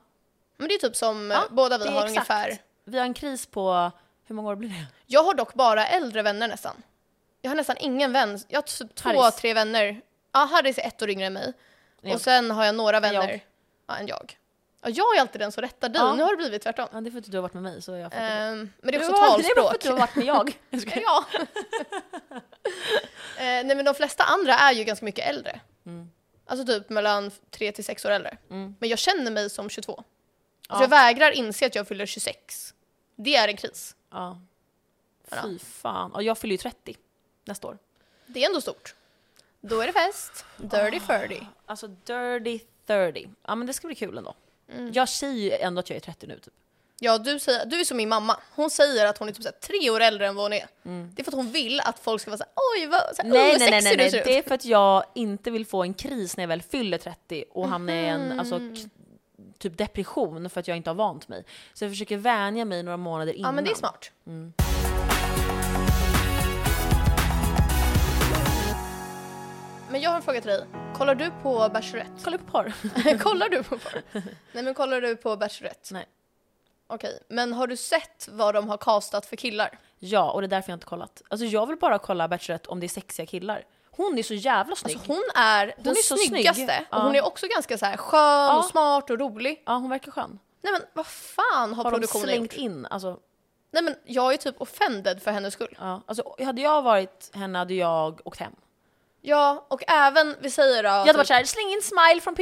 Speaker 1: Men det är typ som
Speaker 2: Ja,
Speaker 1: eh, båda vi
Speaker 2: det är
Speaker 1: har
Speaker 2: exakt.
Speaker 1: ungefär.
Speaker 2: Vi har en kris på, hur många år blir det?
Speaker 1: Jag har dock bara äldre vänner nästan. Jag har nästan ingen vän. Jag har typ två,
Speaker 2: Harris.
Speaker 1: tre vänner. Ja, Harris är ett år yngre än mig.
Speaker 2: Jag.
Speaker 1: Och sen har jag några vänner.
Speaker 2: jag.
Speaker 1: Ja, än jag. Ja, jag är alltid den som rättar dig.
Speaker 2: Ja.
Speaker 1: Nu har det blivit tvärtom.
Speaker 2: Ja, det är för att du har varit med mig så jag fattar. inte.
Speaker 1: Ehm, men det är
Speaker 2: Det
Speaker 1: också
Speaker 2: var- det är bara
Speaker 1: talspråk.
Speaker 2: för att du har varit med jag. Jag skojar.
Speaker 1: Ja. eh, nej men de flesta andra är ju ganska mycket äldre.
Speaker 2: Mm.
Speaker 1: Alltså typ mellan 3 till 6 år äldre.
Speaker 2: Mm.
Speaker 1: Men jag känner mig som 22.
Speaker 2: Ja.
Speaker 1: Så jag vägrar inse att jag fyller 26. Det är en kris.
Speaker 2: Ja.
Speaker 1: Vadå?
Speaker 2: Fy fan. Och jag fyller ju 30 nästa år.
Speaker 1: Det är ändå stort. Ah. Då är det fest. Dirty 30.
Speaker 2: Alltså dirty 30. Ja men det ska bli kul ändå. Jag säger ju ändå att jag är 30 nu typ.
Speaker 1: Mm. Ja, du, säger, du är som min mamma. Hon säger att hon är typ så här tre år äldre än vad hon är. Det är för att hon vill att folk ska vara såhär, oj vad så här,
Speaker 2: Mm. Nej nej nej,
Speaker 1: undersexig
Speaker 2: nej,
Speaker 1: du ser
Speaker 2: nej.
Speaker 1: ut."
Speaker 2: det är för att jag inte vill få en kris när jag väl fyller 30 och hamna i en alltså,
Speaker 1: Mm.
Speaker 2: k- typ depression för att jag inte har vant mig. Så jag försöker vänja mig några månader innan.
Speaker 1: Ja
Speaker 2: Mm.
Speaker 1: men det är smart. Men jag har en fråga till dig. Kollar du på Bachelorette?
Speaker 2: Kolla på porr.
Speaker 1: kollar du på porr? Nej men kollar du på Bachelorette?
Speaker 2: Nej.
Speaker 1: Okej, men har du sett vad de har castat för killar?
Speaker 2: Ja, och det är därför jag inte kollat. Alltså jag vill bara kolla Bachelorette om det är sexiga killar. Hon är så jävla snygg.
Speaker 1: Alltså hon är den
Speaker 2: är så snygg.
Speaker 1: snyggaste och
Speaker 2: Ja.
Speaker 1: hon är också ganska så här skön och smart och rolig.
Speaker 2: Ja, hon verkar skön.
Speaker 1: Nej men vad fan har,
Speaker 2: Har de
Speaker 1: produktionen
Speaker 2: slängt
Speaker 1: gjort?
Speaker 2: in? Alltså,
Speaker 1: Nej men jag är typ offended för hennes skull.
Speaker 2: ja. alltså, hade jag varit henne hade jag åkt hem.
Speaker 1: Ja, och även, vi säger då... typ-
Speaker 2: Jag hade varit såhär, släng in smile från PH.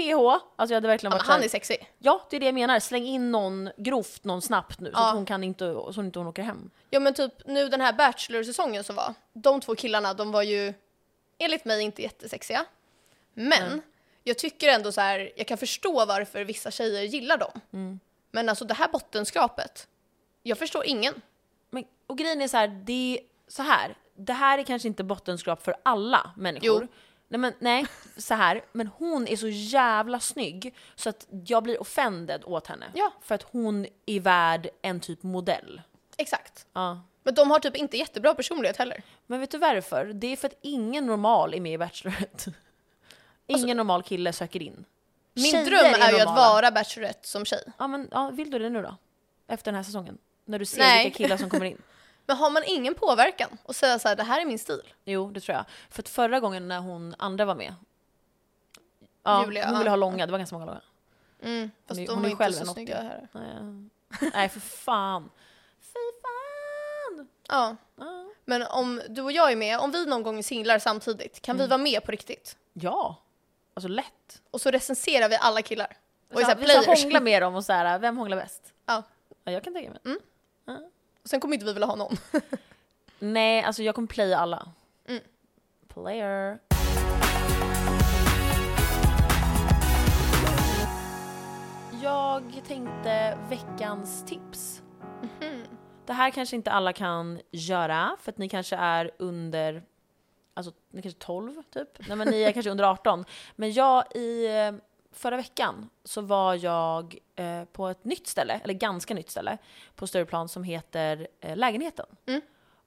Speaker 2: Alltså jag hade verkligen varit
Speaker 1: Alltså- han
Speaker 2: såhär,
Speaker 1: är sexig.
Speaker 2: ja det är det jag menar, släng in någon grovt, någon snabbt nu så
Speaker 1: Ja.
Speaker 2: att hon kan inte, så att inte hon åker hem.
Speaker 1: Ja men typ nu den här Bachelor-säsongen som var, de två killarna de var ju enligt mig inte jättesexiga. Men jag tycker ändå så här, jag kan förstå varför vissa tjejer gillar dem.
Speaker 2: Mm.
Speaker 1: Men alltså det här bottenskrapet, jag förstår ingen.
Speaker 2: Men, och grejen är så här, det är så här. Det här är kanske inte bottenskrap för alla människor.
Speaker 1: Jo.
Speaker 2: Nej, men, nej, så här. Men hon är så jävla snygg så att jag blir offended åt henne.
Speaker 1: Ja.
Speaker 2: För att hon är värd en typ modell.
Speaker 1: Exakt.
Speaker 2: Ja.
Speaker 1: Men de har typ inte jättebra personlighet heller.
Speaker 2: Men vet du varför? Det är för att ingen normal är med i Bachelorette. Ingen normal kille söker in.
Speaker 1: Alltså- Min
Speaker 2: Tjejer
Speaker 1: dröm är, ju att
Speaker 2: normala.
Speaker 1: vara Bachelorette som tjej.
Speaker 2: Ja, men, ja, vill du det nu då? Efter den här säsongen? När du ser
Speaker 1: Nej.
Speaker 2: vilka killar som kommer in?
Speaker 1: Men har man ingen påverkan och säga så här, det här är min stil.
Speaker 2: Jo, det tror jag. För att förra gången när hon andra var med. Ja,
Speaker 1: Julia,
Speaker 2: hon
Speaker 1: ja.
Speaker 2: ville ha långa, det var ganska många långa.
Speaker 1: Mm, fast
Speaker 2: Hon är-
Speaker 1: de
Speaker 2: hon
Speaker 1: är
Speaker 2: är
Speaker 1: inte
Speaker 2: själv
Speaker 1: så
Speaker 2: en
Speaker 1: snygga här.
Speaker 2: Nej. Nej, för fan. Fy fan!
Speaker 1: Ja.
Speaker 2: Ja.
Speaker 1: Men om du och jag är med, om vi någon gång är singlar samtidigt, kan
Speaker 2: Mm.
Speaker 1: vi vara med på riktigt?
Speaker 2: Ja, alltså lätt.
Speaker 1: Och så recenserar vi alla killar. Och är
Speaker 2: Vi
Speaker 1: så här,
Speaker 2: ska, vi ska
Speaker 1: players.
Speaker 2: hångla med dem och så här, vem hånglar bäst?
Speaker 1: Ja.
Speaker 2: Ja, jag kan tänka mig.
Speaker 1: Och sen kommer inte vi vilja ha någon.
Speaker 2: Nej, alltså jag kommer playa alla.
Speaker 1: Mm.
Speaker 2: Player. Jag tänkte veckans tips.
Speaker 1: Mhm.
Speaker 2: Det här kanske inte alla kan göra för att ni kanske är under, alltså ni kanske är 12 typ. Nej men ni är kanske under 18. Men jag i eh, förra veckan så var jag eh, på ett nytt ställe, eller ganska nytt ställe, på Stureplan som heter eh, Lägenheten.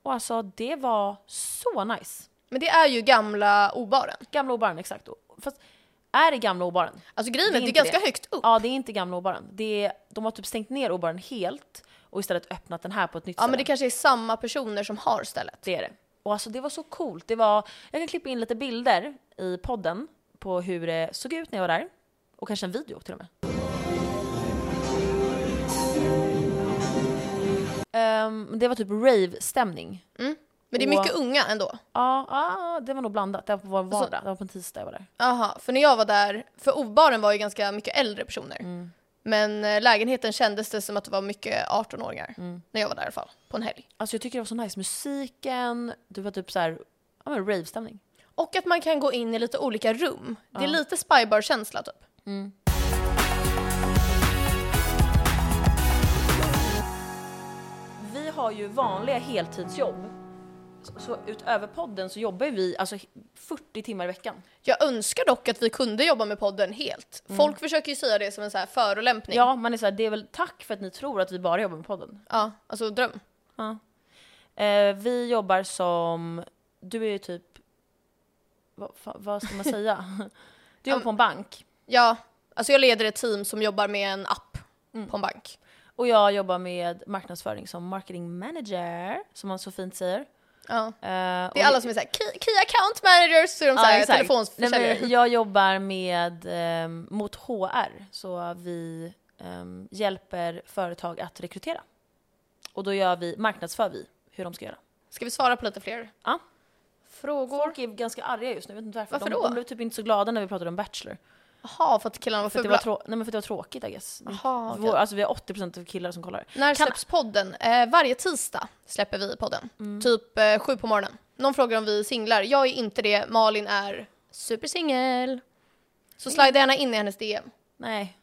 Speaker 2: Och alltså det var så nice.
Speaker 1: Men det är ju gamla obaren.
Speaker 2: Gamla Obaren, exakt. Fast är det gamla Obaren?
Speaker 1: Alltså grejen är
Speaker 2: Det
Speaker 1: att
Speaker 2: är
Speaker 1: det är
Speaker 2: inte
Speaker 1: ganska
Speaker 2: det.
Speaker 1: högt upp. Ja,
Speaker 2: Ja, det är inte gamla Obaren. Det är, de har typ stängt ner Obaren helt och istället öppnat den här på ett nytt ställe.
Speaker 1: men det kanske är samma personer som har stället.
Speaker 2: Det är det. Och alltså det var så coolt. Det var, jag kan klippa in lite bilder i podden på hur det såg ut när jag var där. Och kanske en video till och med. Ehm, det var typ rave-stämning.
Speaker 1: Men det är
Speaker 2: Och-
Speaker 1: mycket unga ändå.
Speaker 2: Ja, ja, det var nog blandat. Det var på vardag.
Speaker 1: Alltså-
Speaker 2: Det var på en tisdag jag var där.
Speaker 1: Jaha, för när jag var där, för obaren var ju ganska mycket äldre personer. Men eh, lägenheten kändes det som att det var mycket 18-åringar. När jag var där i alla fall, på en helg.
Speaker 2: Alltså jag tycker det var så nice. Musiken, det var typ så här, ja men rave-stämning.
Speaker 1: Och att man kan gå in i lite olika rum. Det är lite spybar-känsla typ.
Speaker 2: Vi har ju vanliga heltidsjobb. Så- Så utöver podden så jobbar ju vi alltså 40 timmar i veckan.
Speaker 1: Jag önskar dock att vi kunde jobba med podden helt. Folk försöker ju säga det som en så här förolämpning.
Speaker 2: Mm. Ja, man är så här, det är väl tack för att ni tror att vi bara jobbar med podden.
Speaker 1: Ja, alltså dröm.
Speaker 2: Eh, vi jobbar som, du är ju typ, vad, fa- vad ska man säga? Du jobbar på en bank
Speaker 1: Ja, alltså jag leder ett team som jobbar med en app
Speaker 2: Mm.
Speaker 1: på en bank.
Speaker 2: och jag jobbar med marknadsföring som marketing manager, som man så fint säger.
Speaker 1: Ja.
Speaker 2: Eh,
Speaker 1: Det är
Speaker 2: och-
Speaker 1: alla som är såhär, key, key account managers, så är de
Speaker 2: Ja,
Speaker 1: såhär
Speaker 2: exakt.
Speaker 1: telefonförsäljare.
Speaker 2: Nej, men Jag jobbar med, ehm, mot HR, så vi ehm, hjälper företag att rekrytera. Och då gör vi, marknadsför vi hur de ska göra.
Speaker 1: Ska vi svara på lite fler?
Speaker 2: Ja.
Speaker 1: Frågor?
Speaker 2: Folk är ganska arga just nu, jag vet inte varför.
Speaker 1: Varför
Speaker 2: de,
Speaker 1: då?
Speaker 2: de blev typ inte så glada när vi pratade om Bachelor.
Speaker 1: Jaha, för att killarna var
Speaker 2: För att, det
Speaker 1: fula.
Speaker 2: var trå- Nej, men för att det var tråkigt I guess.
Speaker 1: Jaha, okej.
Speaker 2: Vår, alltså, vi har 80% av killar som kollar.
Speaker 1: När
Speaker 2: Kan-
Speaker 1: släpps podden? Eh, varje tisdag släpper vi podden.
Speaker 2: Mm.
Speaker 1: Typ eh, sju på morgonen. Någon frågar om vi är singlar. Jag är inte det, Malin är supersingel.
Speaker 2: Mm.
Speaker 1: Så slida gärna in i hennes DM.
Speaker 2: Nej.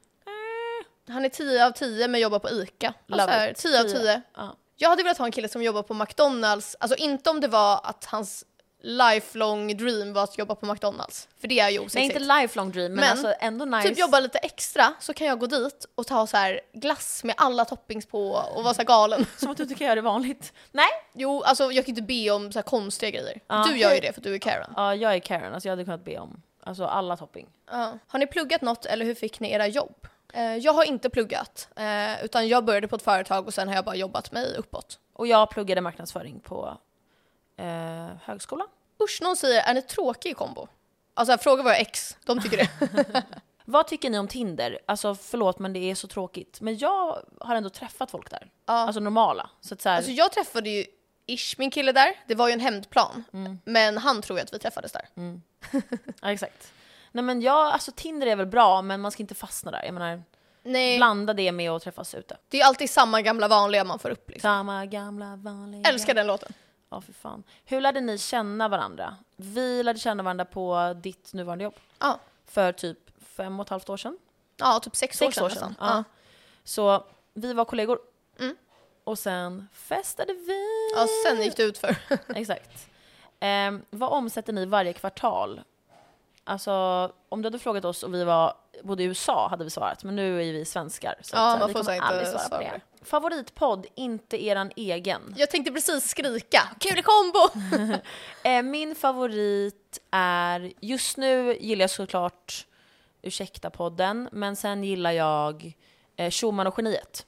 Speaker 1: Han är 10 av 10 men jobbar på ICA.
Speaker 2: Love
Speaker 1: Alltså här,
Speaker 2: it.
Speaker 1: 10 av
Speaker 2: 10.
Speaker 1: 10.
Speaker 2: Ja.
Speaker 1: Jag hade velat ha en kille som jobbar på McDonalds, alltså inte om det var att hans lifelong dream var att jobba på McDonalds. För det är ju
Speaker 2: Nej,
Speaker 1: osexigt.
Speaker 2: inte lifelong dream, men,
Speaker 1: Men
Speaker 2: alltså ändå nice.
Speaker 1: Typ jobba lite extra så kan jag gå dit och ta så här glass med alla toppings på och vara så här galen.
Speaker 2: Som att du inte kan göra det vanligt. Nej!
Speaker 1: Jo, alltså jag kan inte be om så här konstiga grejer.
Speaker 2: Ja.
Speaker 1: Du gör ju det för att du är Karen.
Speaker 2: Ja, jag är Karen, alltså jag hade kunnat be om alltså, alla topping.
Speaker 1: Ja. Har ni pluggat något eller hur fick ni era jobb? Eh, jag har inte pluggat, eh, utan jag började på ett företag och sen har jag bara jobbat mig uppåt.
Speaker 2: Och jag pluggade marknadsföring på eh, högskola.
Speaker 1: Usch, någon säger är ni tråkig i kombo? Alltså här, fråga våra ex, de tycker det.
Speaker 2: Vad tycker ni om Tinder? Alltså förlåt men det är så tråkigt. Men jag har ändå träffat folk där. Alltså normala. Så att så här,
Speaker 1: Alltså jag träffade ju Ish, min kille där, det var ju en hämndplan. Men han tror ju att vi träffades där.
Speaker 2: mm, ja, exakt. Nej men jag, alltså Tinder är väl bra men man ska inte fastna där. Jag menar,
Speaker 1: Nej,
Speaker 2: blanda det med att träffas ute.
Speaker 1: det är ju alltid samma gamla vanliga man får upp liksom.
Speaker 2: Samma gamla vanliga.
Speaker 1: Älskar den låten.
Speaker 2: Ja för fan. Hur lärde ni känna varandra? Vi lärde känna varandra på ditt nuvarande jobb.
Speaker 1: Ja,
Speaker 2: För typ fem och ett halvt år sedan.
Speaker 1: ja typ sex,
Speaker 2: sex
Speaker 1: år
Speaker 2: år
Speaker 1: sedan,
Speaker 2: sedan.
Speaker 1: nästan. Ja.
Speaker 2: Så vi var kollegor.
Speaker 1: Mm.
Speaker 2: Och sen festade vi.
Speaker 1: Ja, sen gick det ut för.
Speaker 2: Exakt. Ehm, vad omsätter ni varje kvartal? Alltså, om du hade frågat oss och vi var både i USA hade vi svarat, men nu är vi svenskar. Så
Speaker 1: Ja,
Speaker 2: att, så här,
Speaker 1: man får
Speaker 2: vi kommer
Speaker 1: så här inte
Speaker 2: aldrig svara
Speaker 1: svara
Speaker 2: på
Speaker 1: på
Speaker 2: det. Favoritpodd, inte eran egen.
Speaker 1: Jag tänkte precis skrika kul i kombo!
Speaker 2: Eh, min favorit är, just nu gillar jag såklart Ursäkta-podden, men sen gillar jag eh, Schumann och geniet.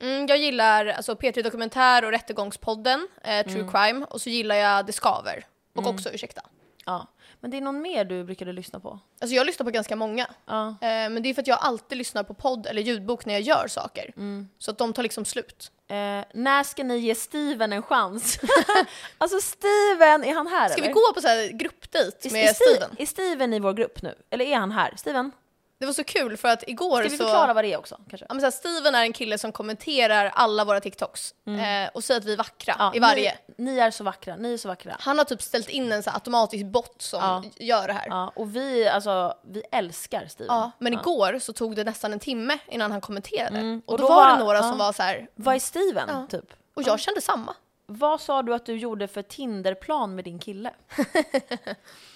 Speaker 1: Mm, jag gillar alltså, P3 Dokumentär och Rättegångspodden, eh, True
Speaker 2: Mm.
Speaker 1: Crime, och så gillar jag Det Skaver. Och också Ursäkta.
Speaker 2: Ja. Men det är någon mer du brukade lyssna på?
Speaker 1: Alltså jag lyssnar på ganska många.
Speaker 2: Ja.
Speaker 1: Eh, men det är för att jag alltid lyssnar på podd eller ljudbok när jag gör saker. Så att de tar liksom slut.
Speaker 2: Mm. Eh, när ska ni ge Steven en chans? alltså Steven, är han här
Speaker 1: Ska
Speaker 2: eller?
Speaker 1: vi gå på så här gruppdejt
Speaker 2: Är-
Speaker 1: med
Speaker 2: är Sti-
Speaker 1: Steven?
Speaker 2: Är Steven i vår grupp nu? Eller är han här? Steven?
Speaker 1: Det var så kul för att igår
Speaker 2: Ska vi
Speaker 1: så...
Speaker 2: förklara vad det är också? Kanske?
Speaker 1: Ja, men så här, Steven är en kille som kommenterar alla våra TikToks
Speaker 2: Mm.
Speaker 1: eh, och säger att vi är vackra i varje.
Speaker 2: Ni, ni är så vackra, ni är så vackra.
Speaker 1: Han har typ ställt in en så här, automatisk bot som
Speaker 2: Ja.
Speaker 1: gör det här. Ja.
Speaker 2: Ja, och vi, alltså, vi älskar Steven.
Speaker 1: men igår så tog det nästan en timme innan han kommenterade. Och,
Speaker 2: Mm. och
Speaker 1: då,
Speaker 2: då
Speaker 1: var
Speaker 2: var-
Speaker 1: det några
Speaker 2: ja.
Speaker 1: som var så här,
Speaker 2: Vad är Steven, typ?
Speaker 1: och jag kände samma.
Speaker 2: Vad sa du att du gjorde för Tinderplan med din kille?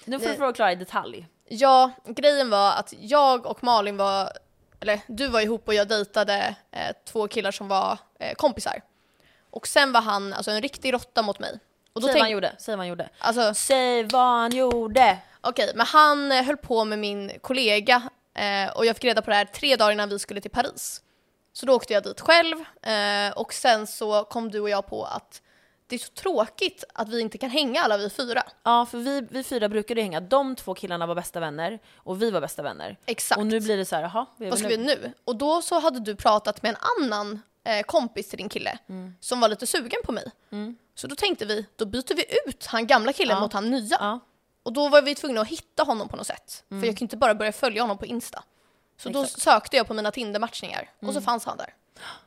Speaker 2: nu får du förklara i detalj.
Speaker 1: Ja, grejen var att jag och Malin var, eller du var ihop och jag dejtade eh, två killar som var eh, kompisar. Och sen var han alltså en riktig råtta mot mig. Och då
Speaker 2: Säg vad han
Speaker 1: tänkte,
Speaker 2: gjorde, säg vad han gjorde.
Speaker 1: alltså
Speaker 2: Säg vad han gjorde!
Speaker 1: okej, men han eh, höll på med min kollega eh, och jag fick reda på det här tre dagar innan vi skulle till Paris. Så då åkte jag dit själv eh, och sen så kom du och jag på att det är så tråkigt att vi inte kan hänga alla vi fyra.
Speaker 2: Ja, för vi, vi fyra brukade ju hänga. De två killarna var bästa vänner och vi var bästa vänner.
Speaker 1: Exakt.
Speaker 2: Och nu blir det så här, jaha, är
Speaker 1: Vad
Speaker 2: väl
Speaker 1: ska vi göra nu? Och då så hade du pratat med en annan eh, kompis till din kille
Speaker 2: Mm.
Speaker 1: som var lite sugen på mig. Så då tänkte vi, då byter vi ut han gamla killen
Speaker 2: Ja.
Speaker 1: mot han nya.
Speaker 2: Ja. Mm.
Speaker 1: Och då var vi tvungna att hitta honom på något sätt. För jag kunde inte bara börja följa honom på Insta. Så då
Speaker 2: Exakt. Mm.
Speaker 1: sökte jag på mina Tinder-matchningar och så fanns han där.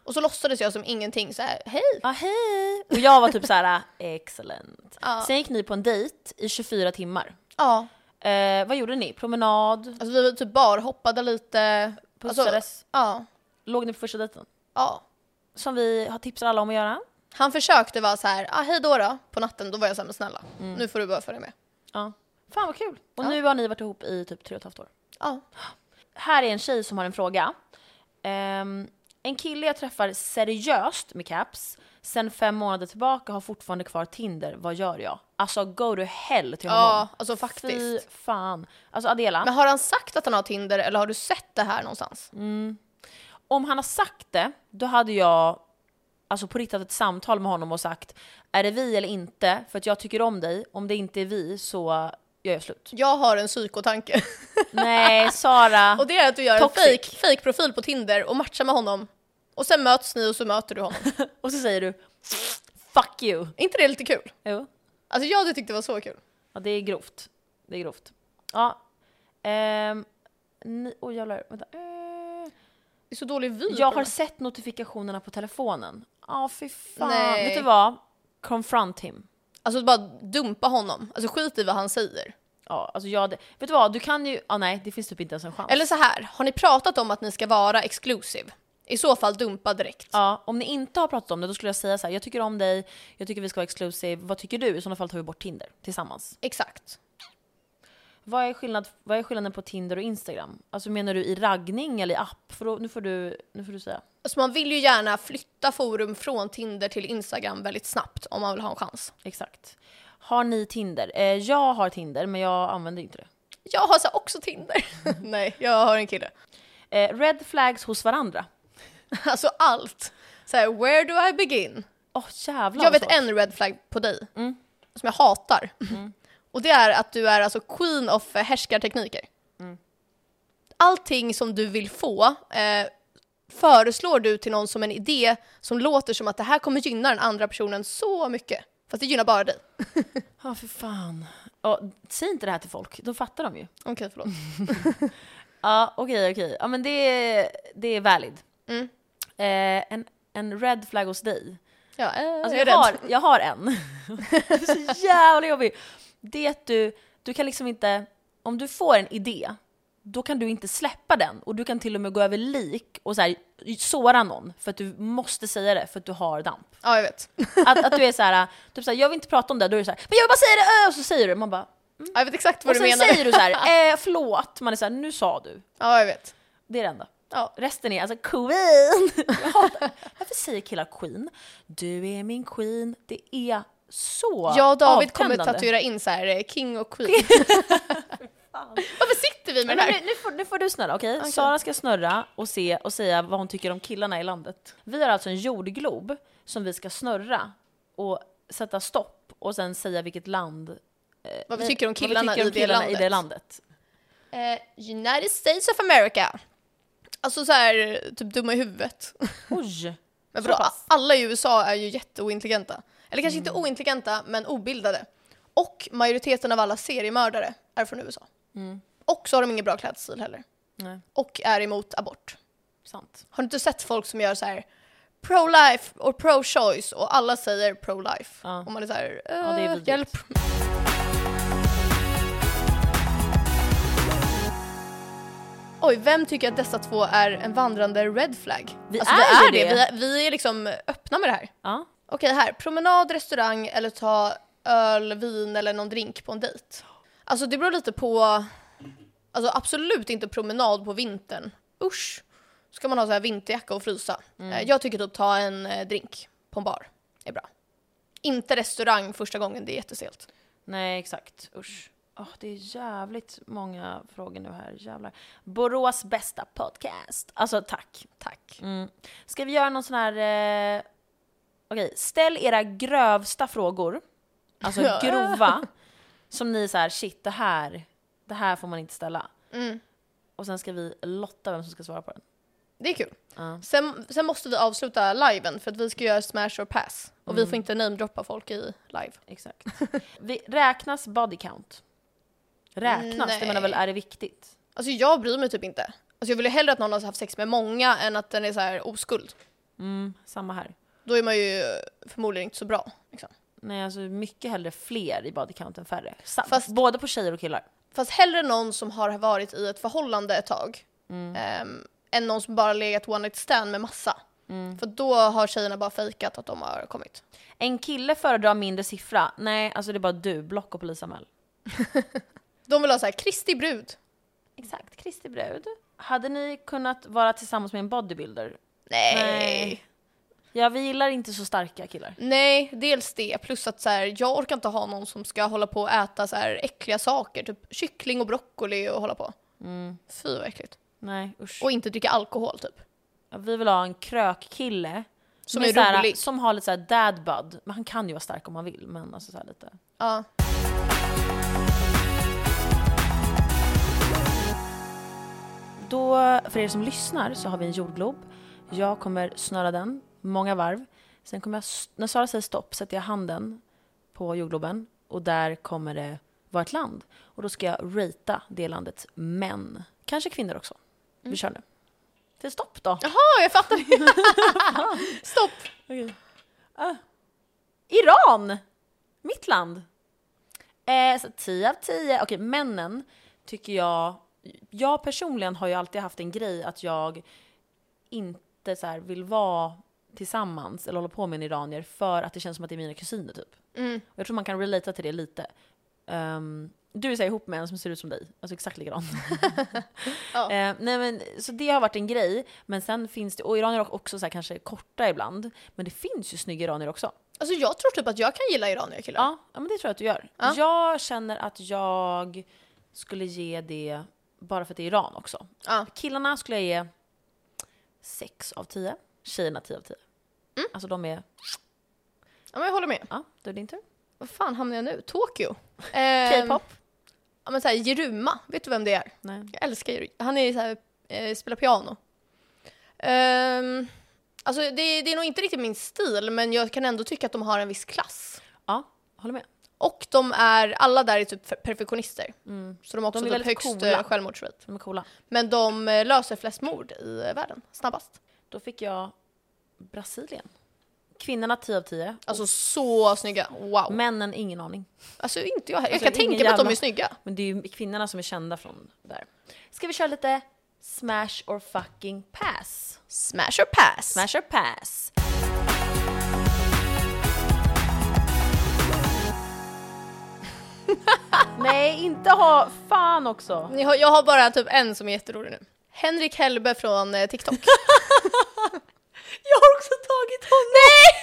Speaker 1: Och så låtsades jag som ingenting så här, hej!
Speaker 2: Ja, hej! Och jag var typ så här, excellent.
Speaker 1: Ja.
Speaker 2: Sen gick ni på en dejt i 24 timmar.
Speaker 1: Ja.
Speaker 2: Eh, vad gjorde ni? Promenad?
Speaker 1: Alltså vi typ barhoppade lite.
Speaker 2: Pussades?
Speaker 1: Alltså, ja.
Speaker 2: Låg ni på första dejten?
Speaker 1: Ja.
Speaker 2: Som vi har tipsat alla om att göra.
Speaker 1: Han försökte vara så här, ah, hej då då, på natten. Då var jag så här, men snälla,
Speaker 2: Mm.
Speaker 1: nu får du bara följa med.
Speaker 2: Ja. Fan vad kul! Och nu har ni varit ihop i typ tre och ett halvt år.
Speaker 1: Ja.
Speaker 2: Här är en tjej som har en fråga. Ehm, en kille jag träffar seriöst med caps sen fem månader tillbaka har fortfarande kvar Tinder. Vad gör jag? Alltså go to hell till honom.
Speaker 1: Ja, alltså faktiskt.
Speaker 2: Fy fan. Mm. Alltså Adela,
Speaker 1: Men har han sagt att han har Tinder eller har du sett det här någonstans?
Speaker 2: om han har sagt det, då hade jag alltså på riktigt haft ett samtal med honom och sagt är det vi eller inte? För att jag tycker om dig. Om det inte är vi så gör jag slut.
Speaker 1: Jag har en psykotanke.
Speaker 2: Nej, Sara.
Speaker 1: Och det är att du gör
Speaker 2: Toxic.
Speaker 1: en fake, fake profil på Tinder och matchar med honom. Och sen möts ni och så möter du honom.
Speaker 2: Och så säger du fuck you.
Speaker 1: Är inte det lite kul?
Speaker 2: Jo.
Speaker 1: Alltså jag hade tyckt det var så kul.
Speaker 2: Ja, det är grovt. Det är grovt. Ja. Ehm, ni, oh, jävlar, vänta. Eh,
Speaker 1: Det är så dålig vy. på
Speaker 2: jag har
Speaker 1: den här.
Speaker 2: sett notifikationerna på telefonen. Ja, fy fan.
Speaker 1: Nej.
Speaker 2: Vet du vad? Confront him.
Speaker 1: Alltså bara dumpa honom. Alltså skit i vad han säger.
Speaker 2: Ja, alltså jag, hade- vet du vad? Du kan ju... Ah, nej, det finns typ inte ens en chans.
Speaker 1: Eller så här, har ni pratat om att ni ska vara exclusive? I så fall dumpa direkt.
Speaker 2: Ja, om ni inte har pratat om det, då skulle jag säga så här. Jag tycker om dig, jag tycker vi ska vara exclusive. Vad tycker du? I sådana fall tar vi bort Tinder tillsammans.
Speaker 1: Exakt.
Speaker 2: Vad är, skillnad, vad är skillnaden på Tinder och Instagram? Alltså menar du i raggning eller i app? För då, nu, får du, nu får du säga.
Speaker 1: Alltså man vill ju gärna flytta forum från Tinder till Instagram väldigt snabbt om man vill ha en chans.
Speaker 2: Exakt. Har ni Tinder? Eh, jag har Tinder, men jag använder inte det.
Speaker 1: Jag har så här också Tinder. Nej, jag har en kille.
Speaker 2: Eh, red flags hos varandra.
Speaker 1: Alltså allt. Så här, where do I begin?
Speaker 2: Åh jävlar
Speaker 1: Jag
Speaker 2: vad
Speaker 1: vet
Speaker 2: svårt.
Speaker 1: en red flag på dig som jag hatar. Och det är att du är alltså queen of eh, härskartekniker. Allting som du vill få eh, föreslår du till någon som en idé som låter som att det här kommer gynna den andra personen så mycket. Fast det gynnar bara dig.
Speaker 2: Ja, för fan. Ja, säg inte det här till folk, då fattar de ju.
Speaker 1: Okej, förlåt.
Speaker 2: Ja, okej, okej. Ja, men det är, det är valid.
Speaker 1: Mm.
Speaker 2: Eh, en, en red flag hos dig.
Speaker 1: Ja, eh,
Speaker 2: Alltså,
Speaker 1: jag är
Speaker 2: jag,
Speaker 1: rädd.
Speaker 2: har, jag har en. Det är så jävla jobbig. Det är att du, du kan liksom inte, om du får en idé, då kan du inte släppa den och du kan till och med gå över lik och så här, såra någon för att du måste säga det för att du har damp.
Speaker 1: Ja, jag vet.
Speaker 2: Att, att du är så här, typ så här, jag vill inte prata om det, då är du så här, men jag vill bara säga det, ö", och så säger du, man bara,
Speaker 1: Ja, jag vet exakt vad
Speaker 2: och
Speaker 1: du
Speaker 2: sen
Speaker 1: menar.
Speaker 2: säger du så här, eh, förlåt, man är så här, nu sa du.
Speaker 1: Ja, jag vet.
Speaker 2: Det är det enda.
Speaker 1: Ja.
Speaker 2: Resten är alltså queen. Jag hatar- Varför säger killar queen? Du är min queen. Det är så
Speaker 1: Jag och David kommer
Speaker 2: avtändande.
Speaker 1: tatuera in så här eh, king och queen. Varför sitter vi
Speaker 2: Men
Speaker 1: med det
Speaker 2: nu,
Speaker 1: här?
Speaker 2: nu, får, nu får du snurra, okej? Sara ska snurra och, se, och säga vad hon tycker om killarna i landet. Vi har alltså en jordglob som vi ska snurra och sätta stopp och sen säga vilket land...
Speaker 1: Vad vi tycker om
Speaker 2: vad vi
Speaker 1: killarna,
Speaker 2: tycker om
Speaker 1: i, det
Speaker 2: killarna
Speaker 1: landet.
Speaker 2: i det landet.
Speaker 1: Eh, United States of America. Alltså så här, typ dumma i huvudet.
Speaker 2: Oj!
Speaker 1: Men
Speaker 2: Så
Speaker 1: bra,
Speaker 2: pass.
Speaker 1: alla i USA är ju jätteointelligenta. Eller kanske
Speaker 2: Mm.
Speaker 1: inte ointelligenta, men obildade. Och majoriteten av alla seriemördare är från USA.
Speaker 2: Mm.
Speaker 1: Och så har de ingen bra klädstil heller.
Speaker 2: Nej,
Speaker 1: Och är emot abort.
Speaker 2: sant.
Speaker 1: Har du inte sett folk som gör så här pro-life och pro-choice och alla säger pro-life?
Speaker 2: Ja.
Speaker 1: Och man är så här, eh,
Speaker 2: det är vidrigt.
Speaker 1: hjälp. Oj, vem tycker att dessa två är en vandrande red flag?
Speaker 2: Vi är ju det.
Speaker 1: Vi är, vi är liksom öppna med det här.
Speaker 2: Ja.
Speaker 1: Okej, här. Promenad, restaurang eller ta öl, vin eller någon drink på en dejt. Alltså det beror lite på... Alltså absolut inte promenad på vintern. Usch! Ska man ha så här vinterjacka och frysa. Eh, Jag tycker typ ta en eh, drink på en bar. är bra. Inte restaurang första gången, det är jättestelt.
Speaker 2: Nej, exakt. Usch. Åh, det är jävligt många frågor nu här. Jävlar. Borås bästa podcast. Alltså tack.
Speaker 1: Tack.
Speaker 2: Mm. Ska vi göra någon sån här... Eh... Okej, ställ era grövsta frågor. Alltså
Speaker 1: Ja.
Speaker 2: grova. som ni är så här, shit det
Speaker 1: Mm.
Speaker 2: här, det här får man inte ställa. Och sen ska vi lotta vem som ska svara på den.
Speaker 1: Det är kul.
Speaker 2: Ja.
Speaker 1: Sen, sen måste vi avsluta liven för att vi ska göra smash or pass. Och vi får inte namedroppa folk i live.
Speaker 2: Exakt. Vi, räknas body count? Räknas?
Speaker 1: Nej.
Speaker 2: Det menar väl, är det viktigt?
Speaker 1: Alltså jag bryr mig typ inte. Alltså jag vill ju hellre att någon har haft sex med många än att den är så här oskuld.
Speaker 2: Mm, samma här.
Speaker 1: Då är man ju förmodligen inte så bra. Liksom.
Speaker 2: Nej, alltså mycket hellre fler i body count än färre. Sam-
Speaker 1: Fast-
Speaker 2: Både på tjejer och killar.
Speaker 1: Fast hellre någon som har varit i ett förhållande ett tag ehm, än någon som bara legat one night stand med massa. För då har tjejerna bara fejkat att de har kommit.
Speaker 2: En kille föredrar mindre siffra. Nej, alltså det är bara du, block och polisanmäl.
Speaker 1: De vill ha så här Kristi brud.
Speaker 2: Exakt, Kristi brud. Hade ni kunnat vara tillsammans med en bodybuilder?
Speaker 1: Nej.
Speaker 2: Nej.
Speaker 1: Nej.
Speaker 2: Ja, vi gillar inte så starka killar.
Speaker 1: dels det. Plus att så här, jag orkar inte ha någon som ska hålla på och äta så här äckliga saker. Typ kyckling och broccoli och hålla på. Fy vad äckligt.
Speaker 2: Nej, usch.
Speaker 1: Och inte dricka alkohol typ.
Speaker 2: Ja, Vi vill ha en krökkille.
Speaker 1: Som är
Speaker 2: så här-
Speaker 1: rolig.
Speaker 2: Som har lite såhär dad bud. Men han kan ju vara stark om han vill, men alltså såhär lite.
Speaker 1: Ja.
Speaker 2: Då, för er som lyssnar, så har vi en jordglob. Jag kommer snöra den många varv. Sen kommer jag, s- när Sara säger stopp, sätter jag handen på jordgloben och där kommer det vara ett land. Och då ska jag ratea det landets män. Kanske kvinnor också. Vi kör nu. Till stopp då.
Speaker 1: Jaha, jag fattar. Stopp.
Speaker 2: Ah. Iran! Mitt land. Eh, så 10 av 10. Okej, männen tycker jag... Jag personligen har ju alltid haft en grej att jag inte så här, vill vara tillsammans eller hålla på med en iranier för att det känns som att det är mina kusiner typ.
Speaker 1: Mm.
Speaker 2: Och jag tror man kan relatera till det lite. Ehm, du är så här ihop med en som ser ut som dig, alltså exakt likadan.
Speaker 1: Ja.
Speaker 2: Eh, nej men, så det har varit en grej, men sen finns det, och iranier är också så här, kanske korta ibland, men det finns ju snygga iranier också.
Speaker 1: Alltså jag tror typ att jag kan gilla iranier killar.
Speaker 2: Ja, ja men det tror jag att du gör.
Speaker 1: Ja.
Speaker 2: Jag känner att jag skulle ge det, bara för att det är Iran också.
Speaker 1: Ja.
Speaker 2: Killarna skulle jag ge 6 av 10, tjejerna 10 av 10.
Speaker 1: Mm.
Speaker 2: Alltså de är,
Speaker 1: ja men jag håller med.
Speaker 2: ja, då är det din tur.
Speaker 1: Vad fan hamnar jag nu? Tokyo. Ehm,
Speaker 2: K-pop?
Speaker 1: Ja men såhär Jeruma, vet du vem det är?
Speaker 2: Nej.
Speaker 1: Jag älskar Jeruma. Han är såhär, eh, spelar piano. Ehm, alltså det, det är nog inte riktigt min stil men jag kan ändå tycka att de har en viss klass.
Speaker 2: Ja, håller med.
Speaker 1: Och de är, alla där är typ perfektionister. Så de har också
Speaker 2: De är
Speaker 1: typ
Speaker 2: väldigt
Speaker 1: högst
Speaker 2: coola.
Speaker 1: eh, självmordsrate.
Speaker 2: De är coola.
Speaker 1: Men de eh, löser flest mord i eh, världen, snabbast.
Speaker 2: Då fick jag Brasilien. Kvinnorna 10 av 10.
Speaker 1: Alltså så snygga, wow.
Speaker 2: Männen, ingen aning.
Speaker 1: Alltså inte jag heller.
Speaker 2: Alltså,
Speaker 1: jag kan
Speaker 2: ingen
Speaker 1: tänka mig att de
Speaker 2: jävla-
Speaker 1: är snygga.
Speaker 2: Men det är ju kvinnorna som är kända från där. Ska vi köra lite smash or fucking pass?
Speaker 1: Smash or pass?
Speaker 2: Smash or pass? Nej, inte ha... Fan också!
Speaker 1: Jag har, jag har bara typ en som är jätterolig nu. Henrik Hellbe från eh, TikTok.
Speaker 2: Jag har också tagit honom! Nej!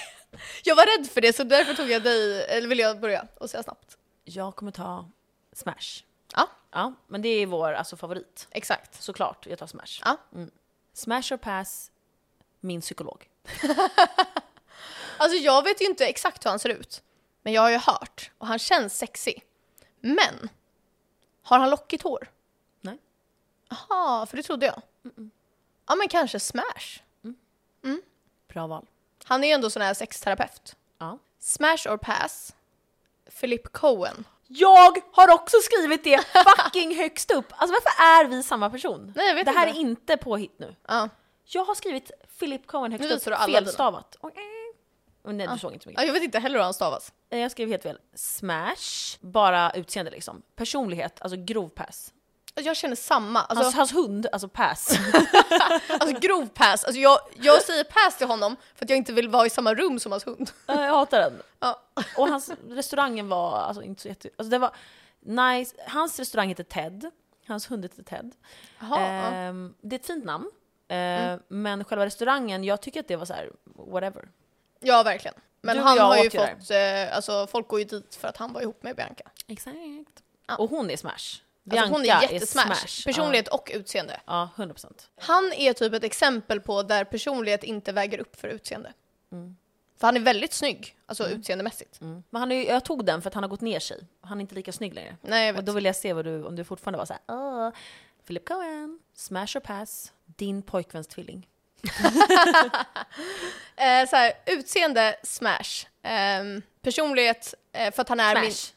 Speaker 1: Jag var rädd för det så därför tog jag dig, eller ville jag börja och säga snabbt.
Speaker 2: Jag kommer ta Smash.
Speaker 1: Ja,
Speaker 2: Ja, men det är vår alltså, favorit.
Speaker 1: exakt.
Speaker 2: Såklart, jag tar Smash. Mm.
Speaker 1: Ja.
Speaker 2: Smash or pass, min psykolog.
Speaker 1: Alltså jag vet ju inte exakt hur han ser ut. Men jag har ju hört och han känns sexig. Men, har han lockigt hår?
Speaker 2: Nej.
Speaker 1: Jaha, för det trodde jag. Ja men kanske smash.
Speaker 2: Bra val.
Speaker 1: Han är ju ändå sån här sexterapeut.
Speaker 2: Ja.
Speaker 1: Smash or pass? Philip Cohen.
Speaker 2: Jag har också skrivit det fucking högst upp! Alltså varför är vi samma person?
Speaker 1: Nej, jag vet
Speaker 2: det här
Speaker 1: inte.
Speaker 2: är inte påhitt nu.
Speaker 1: Ja.
Speaker 2: Jag har skrivit Philip Cohen högst
Speaker 1: Nu
Speaker 2: upp,
Speaker 1: visar du alla
Speaker 2: felstavat. Oj, eh. Nej, du såg inte så mycket.
Speaker 1: ja, jag vet inte heller hur han stavas.
Speaker 2: Eh, Jag skrev helt fel. Smash, bara utseende liksom. Personlighet, alltså grov pass.
Speaker 1: Alltså, jag känner samma. Alltså,
Speaker 2: Hans, hans hund, alltså pass.
Speaker 1: Alltså grov pass. Alltså jag, jag säger pass till honom för att jag inte vill vara i samma rum som hans hund.
Speaker 2: Eh, jag hatar den.
Speaker 1: Ja.
Speaker 2: Och hans restaurangen var alltså inte så jätte... Alltså det var nice. Hans restaurang heter Ted. Hans hund heter Ted.
Speaker 1: Jaha, ja. Mm.
Speaker 2: Ehm, Det är ett fint namn. Ehm, Men själva restaurangen, jag tycker att det var så här, whatever.
Speaker 1: ja, verkligen. Men
Speaker 2: Du och
Speaker 1: han
Speaker 2: jag
Speaker 1: har ju
Speaker 2: åt ju där.
Speaker 1: fått, eh, alltså folk går ju dit för att han var ihop med Bianca.
Speaker 2: Exakt. Och hon är smash.
Speaker 1: Alltså hon
Speaker 2: Bianca
Speaker 1: är jättesmash. Personlighet och utseende.
Speaker 2: Ja, ja 100%.
Speaker 1: Han är typ ett exempel på där personlighet inte väger upp för utseende. För han är väldigt snygg, alltså utseendemässigt.
Speaker 2: Mm. Men han är, ju- jag tog den för att han har gått ner sig. Han är inte lika snygg längre.
Speaker 1: Nej, jag
Speaker 2: Och
Speaker 1: vet.
Speaker 2: då vill jag se vad du, om du fortfarande var såhär Åh, Philip Cohen, smash or pass. Din pojkväns tvilling.
Speaker 1: Eh, så här, utseende, smash. Ehm, personlighet, eh, för att han är min...
Speaker 2: Smash.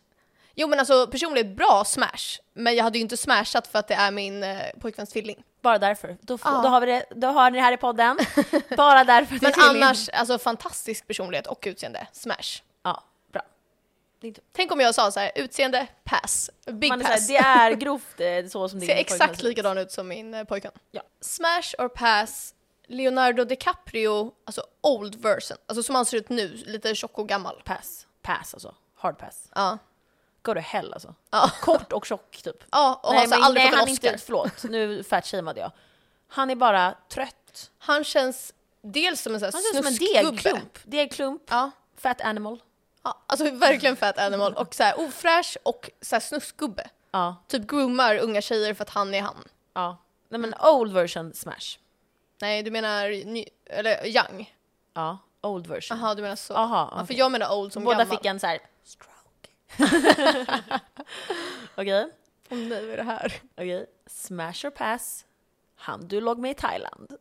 Speaker 1: Jo men alltså personlighet, bra smash. Men jag hade ju inte smashat för att det är min eh, pojkväns tvilling.
Speaker 2: Bara därför. Då, får,
Speaker 1: Ja.
Speaker 2: då, har vi det, då har ni det här i podden. Bara därför. att det
Speaker 1: Men
Speaker 2: är tvilling.
Speaker 1: annars, alltså fantastisk personlighet och utseende, smash.
Speaker 2: Ja, bra.
Speaker 1: Tänk om jag sa så här, utseende, pass. Big
Speaker 2: Man är
Speaker 1: pass.
Speaker 2: såhär, det är grovt eh, så som din
Speaker 1: Ser
Speaker 2: pojkvän
Speaker 1: exakt
Speaker 2: ser ut.
Speaker 1: likadan ut som min eh, pojkvän.
Speaker 2: Ja.
Speaker 1: Smash or pass, Leonardo DiCaprio, alltså old version. Alltså som han ser ut nu, lite tjock och gammal.
Speaker 2: Pass. Pass alltså. Hard pass.
Speaker 1: Ja.
Speaker 2: Go to hell alltså.
Speaker 1: Ja.
Speaker 2: Kort och tjock typ.
Speaker 1: Ja, och har så
Speaker 2: men-
Speaker 1: aldrig fått en
Speaker 2: han
Speaker 1: Oscar.
Speaker 2: inte, förlåt. Nu fatshameade jag. Han är bara trött.
Speaker 1: Han känns dels som en sån här
Speaker 2: Han ser ut som en
Speaker 1: snuskgubbe.
Speaker 2: degklump. Degklump,
Speaker 1: Ja.
Speaker 2: fat animal.
Speaker 1: ja, alltså verkligen fat animal och så här ofräsch och så här snuskgubbe.
Speaker 2: Ja,
Speaker 1: Typ groomar unga tjejer för att han är han.
Speaker 2: ja. Nej men old version smash.
Speaker 1: Nej, du menar ny, eller young?
Speaker 2: Ja, old version.
Speaker 1: Jaha, du menar så.
Speaker 2: Aha,
Speaker 1: ja, för
Speaker 2: okej.
Speaker 1: jag menar old som
Speaker 2: Båda
Speaker 1: gammal.
Speaker 2: fick en så här stroke. Okej,
Speaker 1: Åh nej, vad är det här?
Speaker 2: okej. Smash or pass. Han du låg med i Thailand.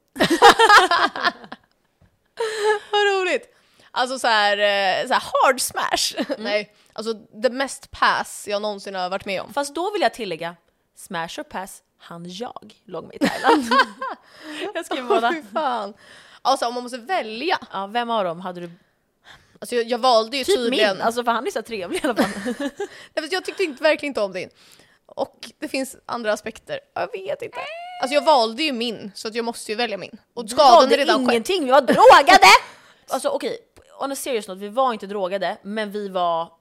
Speaker 1: Vad roligt! Alltså så här, eh, så här hard smash.
Speaker 2: Mm.
Speaker 1: nej, alltså det mest pass jag någonsin har varit med om.
Speaker 2: Fast då vill jag tillägga, smash or pass. Han jag låg med i Thailand. jag skriver
Speaker 1: Åh,
Speaker 2: båda.
Speaker 1: Fy fan. Alltså om man måste välja.
Speaker 2: Ja, vem av dem hade du?
Speaker 1: Alltså jag, jag valde ju
Speaker 2: Typ
Speaker 1: tydligen...
Speaker 2: min, alltså för han är så trevlig i alla fall.
Speaker 1: Nej, fast jag tyckte inte, verkligen inte om din. Och det finns andra aspekter. Jag vet inte. Alltså jag valde ju min, så att jag måste ju välja min. Och skadan
Speaker 2: Valde
Speaker 1: är redan skedd.
Speaker 2: ingenting, vi var drogade! alltså okej, on a serious note, vi var inte drogade, men vi var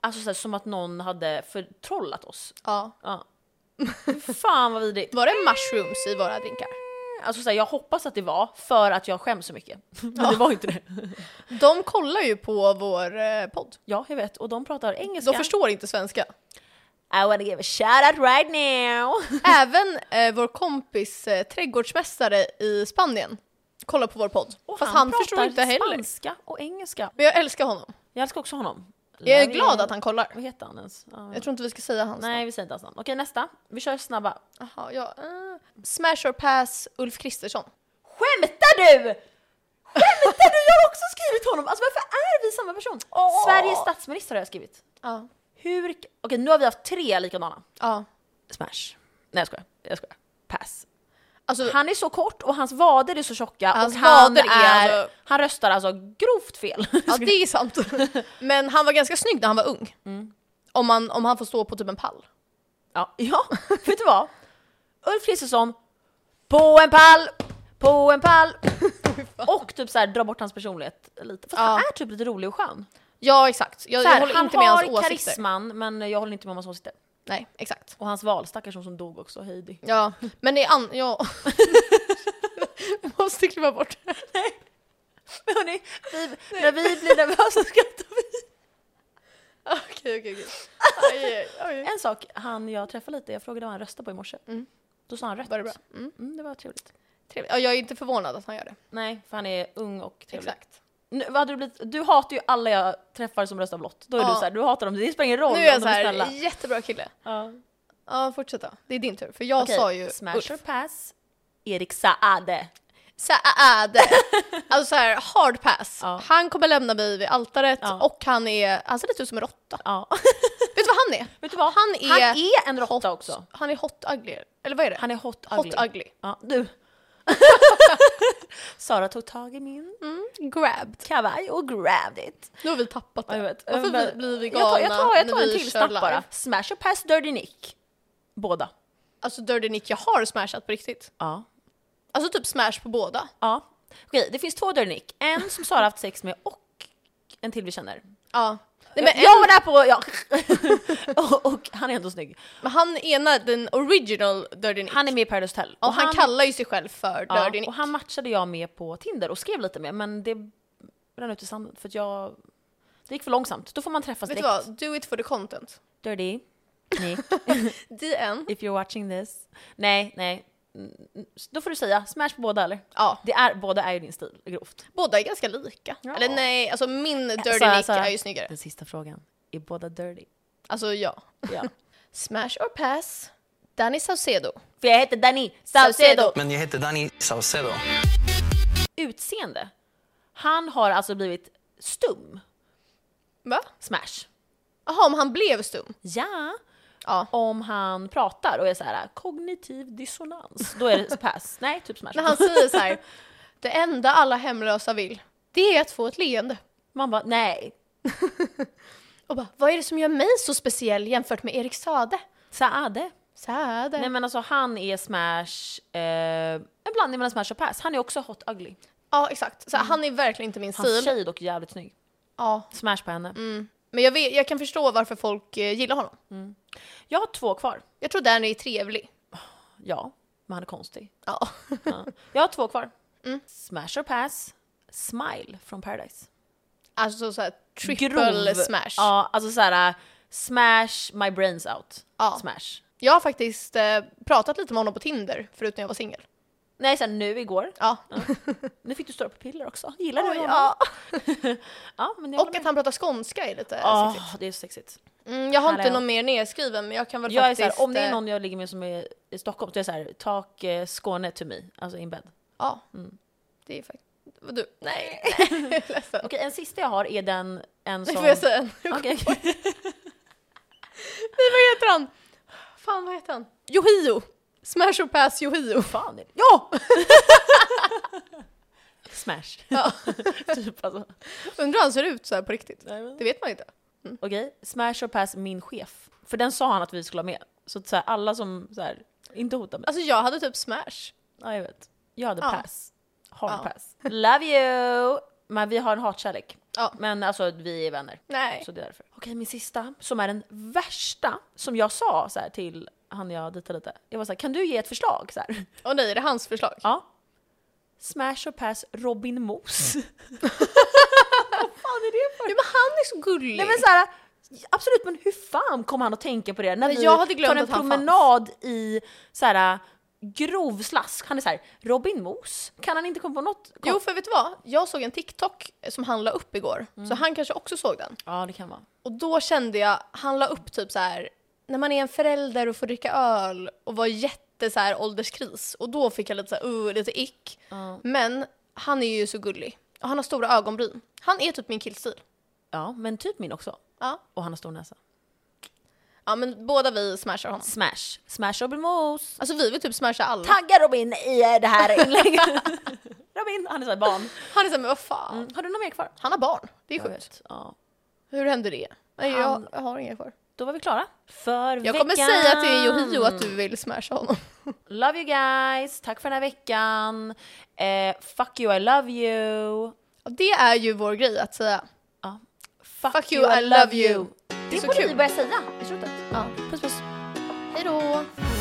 Speaker 2: alltså så här, som att någon hade förtrollat oss.
Speaker 1: Ja.
Speaker 2: Ja. Fan vad vidrigt.
Speaker 1: Var det mushrooms i våra drinkar?
Speaker 2: Alltså så här, jag hoppas att det var för att jag skäms så mycket. Men det var ju inte det.
Speaker 1: De kollar ju på vår eh, podd.
Speaker 2: Ja, jag vet. Och de pratar engelska.
Speaker 1: De förstår inte svenska.
Speaker 2: I wanna give a shout out right now!
Speaker 1: Även eh, vår kompis eh, trädgårdsmästare i Spanien kollar på vår podd.
Speaker 2: Och
Speaker 1: Fast han,
Speaker 2: pratar
Speaker 1: förstår inte heller.
Speaker 2: spanska och engelska.
Speaker 1: Men jag älskar honom.
Speaker 2: Jag älskar också honom.
Speaker 1: Jag är glad att han kollar.
Speaker 2: Vad heter han ens? Ja,
Speaker 1: Jag tror inte vi ska säga hans
Speaker 2: Nej, vi säger inte hans namn. Okej, nästa. Vi kör snabba.
Speaker 1: namn. Jaha, ja, eh. Smash or pass Ulf Kristersson.
Speaker 2: Skämtar du? Skämtar du? Jag har också skrivit honom! Alltså varför är vi samma person? Sveriges statsminister har jag skrivit.
Speaker 1: Ja.
Speaker 2: Hur... Okej, nu har vi haft tre likadana.
Speaker 1: Ja.
Speaker 2: Smash. Nej, jag skojar. Jag skojar. Pass.
Speaker 1: Alltså,
Speaker 2: Han är så kort och hans vader är så tjocka
Speaker 1: Hans
Speaker 2: och han,
Speaker 1: vader är
Speaker 2: är,
Speaker 1: alltså-
Speaker 2: han röstar alltså grovt fel.
Speaker 1: Ja, det är sant. Men han var ganska snygg när han var ung.
Speaker 2: Mm.
Speaker 1: Om, man, om han får stå på typ en pall.
Speaker 2: Ja, ja vet du vad? Ulf Kristersson, på en pall, på en pall. och typ så här, dra bort hans personlighet lite. För att
Speaker 1: Ja.
Speaker 2: han är typ lite rolig och skön.
Speaker 1: Ja, exakt. Jag,
Speaker 2: Så här,
Speaker 1: jag håller
Speaker 2: han
Speaker 1: inte med hans
Speaker 2: har
Speaker 1: åsikter.
Speaker 2: karisman men jag håller inte med om hans åsikter.
Speaker 1: Nej, exakt.
Speaker 2: Och hans val, stackars hon som dog också, Heidi.
Speaker 1: Ja, men det är an... Ja. jag måste klippa bort det.
Speaker 2: Men hörni, vi, när vi blir nervösa skrattar vi.
Speaker 1: Okej, okej, okej. Aj, aj, aj.
Speaker 2: En sak, han jag träffade lite, jag frågade vad han röstade på i morse. Då sa han rött.
Speaker 1: Mm. Var det bra? Mm,
Speaker 2: Mm, det var trevligt.
Speaker 1: trevligt. Ja, jag är inte förvånad att han gör det.
Speaker 2: Nej, för han är ung och trevlig.
Speaker 1: Exakt.
Speaker 2: Nu, vad hade du, blivit, du hatar ju alla jag träffar som röstar blått. Då är
Speaker 1: Ja.
Speaker 2: du så här, du hatar dem, det spelar ingen roll
Speaker 1: Nu är jag
Speaker 2: om
Speaker 1: så
Speaker 2: de är
Speaker 1: här,
Speaker 2: snälla.
Speaker 1: jättebra kille.
Speaker 2: Ja.
Speaker 1: Ja, fortsätt då. Det är din tur. För jag
Speaker 2: Okej,
Speaker 1: sa ju
Speaker 2: Smash
Speaker 1: Ulf.
Speaker 2: or pass, Erik Saade.
Speaker 1: Så här, äh, det- alltså så här, hard pass.
Speaker 2: Ja.
Speaker 1: Han kommer lämna mig vid altaret
Speaker 2: Ja.
Speaker 1: och han är, han ser lite ut som en råtta.
Speaker 2: Ja.
Speaker 1: Vet du vad han är?
Speaker 2: Vet du vad?
Speaker 1: Han är,
Speaker 2: Han är en råtta också.
Speaker 1: han är hot ugly. Eller vad är det?
Speaker 2: Han är hot ugly.
Speaker 1: hot ugly.
Speaker 2: Ja, du. Sara tog tag i min
Speaker 1: Mm, Grabbed.
Speaker 2: kavaj och grabbed it.
Speaker 1: Nu har vi tappat det.
Speaker 2: Ja, jag vet.
Speaker 1: Varför
Speaker 2: Men-
Speaker 1: blir- blir vi
Speaker 2: jag tar,
Speaker 1: galna
Speaker 2: jag tar, jag tar
Speaker 1: när
Speaker 2: en
Speaker 1: vi kör
Speaker 2: till snabb
Speaker 1: live?
Speaker 2: bara. Smash or pass, Dirty Nick. Båda.
Speaker 1: Alltså Dirty Nick, jag har smashat på riktigt.
Speaker 2: Ja.
Speaker 1: Alltså typ smash på båda.
Speaker 2: ja. Okej, det finns två Dirty Nick. En som Sara haft sex med och en till vi känner.
Speaker 1: Ja. Nej,
Speaker 2: Men
Speaker 1: men,
Speaker 2: jag var där på... Ja. och, och han är ändå snygg.
Speaker 1: men han ena, den original Dirty Nick.
Speaker 2: Han är med i Paradise Hotel.
Speaker 1: och han, kallar ju sig själv för
Speaker 2: ja,
Speaker 1: Dirty Nick.
Speaker 2: Och han matchade jag med på Tinder och skrev lite med men det rann ut i sanden för att jag... Det gick för långsamt. Då får man träffas
Speaker 1: Vet du
Speaker 2: direkt.
Speaker 1: vad? Do it for the content.
Speaker 2: Dirty Nick,
Speaker 1: DN.
Speaker 2: if you're watching this. Nej, nej. Mm, Då får du säga smash på båda eller?
Speaker 1: Ja.
Speaker 2: Det är, båda är ju din stil, grovt.
Speaker 1: Båda är ganska lika.
Speaker 2: Ja.
Speaker 1: Eller nej, alltså min Dirty
Speaker 2: Sara,
Speaker 1: Nick
Speaker 2: Sara.
Speaker 1: är ju snyggare.
Speaker 2: Den sista frågan. Är båda dirty?
Speaker 1: Alltså ja.
Speaker 2: Ja.
Speaker 1: Smash or pass? Danny Saucedo.
Speaker 2: För jag heter Danny
Speaker 1: Saucedo.
Speaker 2: Saucedo.
Speaker 3: Men jag heter Danny Saucedo.
Speaker 2: Utseende. Han har alltså blivit stum.
Speaker 1: Va?
Speaker 2: Smash.
Speaker 1: Jaha, om han blev stum?
Speaker 2: Ja.
Speaker 1: Ja.
Speaker 2: Om han pratar och är så här kognitiv dissonans, då är det pass. Nej, typ smash.
Speaker 1: När han säger så här, det enda alla hemlösa vill, det är att få ett leende.
Speaker 2: Man bara, nej.
Speaker 1: Och bara, vad är det som gör mig så speciell jämfört med Erik Sade?
Speaker 2: Saade.
Speaker 1: Sade.
Speaker 2: Nej men alltså han är smash, eh, en blandning mellan smash och pass. Han är också hot ugly.
Speaker 1: Ja, exakt. Så Han är verkligen inte min
Speaker 2: Hans
Speaker 1: stil.
Speaker 2: Mm.
Speaker 1: Mm.
Speaker 2: tjej är dock jävligt snygg.
Speaker 1: Ja.
Speaker 2: Smash på henne.
Speaker 1: Men jag, vet, jag kan förstå varför folk eh, gillar honom.
Speaker 2: Jag har två kvar.
Speaker 1: Jag tror Danny är trevlig.
Speaker 2: Ja, men han är konstig.
Speaker 1: Ja.
Speaker 2: Ja. Jag har två kvar.
Speaker 1: Mm.
Speaker 2: Smash or pass, smile från Paradise.
Speaker 1: Alltså såhär triple smash.
Speaker 2: Ja, alltså såhär smash my brains out.
Speaker 1: Ja.
Speaker 2: Smash.
Speaker 1: Jag har faktiskt eh, pratat lite med honom på Tinder förut när jag var singel.
Speaker 2: Nej, såhär nu igår.
Speaker 1: Ja.
Speaker 2: Nu fick du stora pupiller också. Gillar du
Speaker 1: Oj,
Speaker 2: honom?
Speaker 1: ja.
Speaker 2: ja, men jag
Speaker 1: Och
Speaker 2: håller
Speaker 1: att
Speaker 2: med.
Speaker 1: han pratar skånska är lite
Speaker 2: Åh,
Speaker 1: sexigt.
Speaker 2: det är så sexigt.
Speaker 1: Mm, jag har inte
Speaker 2: Härliga.
Speaker 1: någon mer nedskriven men jag kan väl
Speaker 2: Jag är
Speaker 1: faktiskt...
Speaker 2: så här, om det är
Speaker 1: eh,
Speaker 2: någon jag ligger med som är i Stockholm, så är jag så här, tak eh, Skåne to me, alltså in bed. Mm.
Speaker 1: Ja. Det är faktiskt... Vad du? Nej. Ledsen.
Speaker 2: Okej, en sista jag har är den, en
Speaker 1: Nu
Speaker 2: som...
Speaker 1: får jag säga en.
Speaker 2: Okej, okej.
Speaker 1: Nej vad heter han? Fan vad heter han? Yohio! Smash or pass Yohio.
Speaker 2: Fan, är det- ja! Smash.
Speaker 1: Ja.
Speaker 2: typ alltså.
Speaker 1: Undrar hur han ser ut så här på riktigt.
Speaker 2: Nej, men-
Speaker 1: Det vet man inte.
Speaker 2: Okej, smash or pass min chef. För den sa han att vi skulle ha med. Så, att så här, alla som så här, inte hotar mig.
Speaker 1: Alltså jag hade typ smash.
Speaker 2: Ja, jag vet. Jag hade
Speaker 1: Ja.
Speaker 2: pass. Hard
Speaker 1: Ja.
Speaker 2: pass. Love you! Men vi har en hatkärlek.
Speaker 1: Ja.
Speaker 2: Men alltså, vi är vänner.
Speaker 1: Nej.
Speaker 2: Så det är därför. Okej, min sista, som är den värsta, som jag sa så här, till han jag dejtade lite. Jag var så här, kan du ge ett förslag? Så här.
Speaker 1: Åh nej, är det hans förslag?
Speaker 2: Ja. Smash och pass Robin Mos.
Speaker 1: Ja, men han är så gullig!
Speaker 2: Nej men så här, absolut, men hur fan kom han att tänka på det när
Speaker 1: Men
Speaker 2: vi
Speaker 1: jag hade glömt
Speaker 2: tar en
Speaker 1: att han
Speaker 2: promenad i så här grov slask? Han är så här, Robin Mos? Kan han inte komma på något? Kom.
Speaker 1: Jo för vet du vad? Jag såg en TikTok som han la upp igår,
Speaker 2: Mm.
Speaker 1: så han kanske också såg den.
Speaker 2: Ja, det kan vara.
Speaker 1: Och då kände jag, han la upp typ så här när man är en förälder och får dricka öl och var jätte så här ålderskris. Och då fick jag lite så här, uh, lite ick. Men han är ju så gullig. Och han har stora ögonbryn. Han är typ min killstil.
Speaker 2: Ja, men typ min också.
Speaker 1: Ja.
Speaker 2: Och han har stor näsa.
Speaker 1: ja men båda vi smashar honom.
Speaker 2: Smash. Smash Robin Mos.
Speaker 1: Alltså vi vill typ smasha alla.
Speaker 2: Tagga Robin i eh, det här inlägget. Robin, han är såhär barn.
Speaker 1: Han är såhär, men vad fan.
Speaker 2: Mm. Har du något mer kvar?
Speaker 1: Han har barn. Det är
Speaker 2: Jag
Speaker 1: sjukt.
Speaker 2: vet. Ja.
Speaker 1: Hur hände det? Nej,
Speaker 2: Han-
Speaker 1: jag, jag har inga kvar.
Speaker 2: Då var vi klara för
Speaker 1: Jag
Speaker 2: veckan.
Speaker 1: kommer säga till Johio att du vill smasha honom.
Speaker 2: Love you guys, tack för den här veckan. Eh, fuck you, I love you.
Speaker 1: Och Det är ju vår grej att säga.
Speaker 2: Ja. Fuck,
Speaker 1: Fuck you, I love you.
Speaker 2: Det
Speaker 1: så
Speaker 2: borde
Speaker 1: kul.
Speaker 2: vi börja säga i slutet.
Speaker 1: Ja.
Speaker 2: Puss puss.
Speaker 1: Hej då!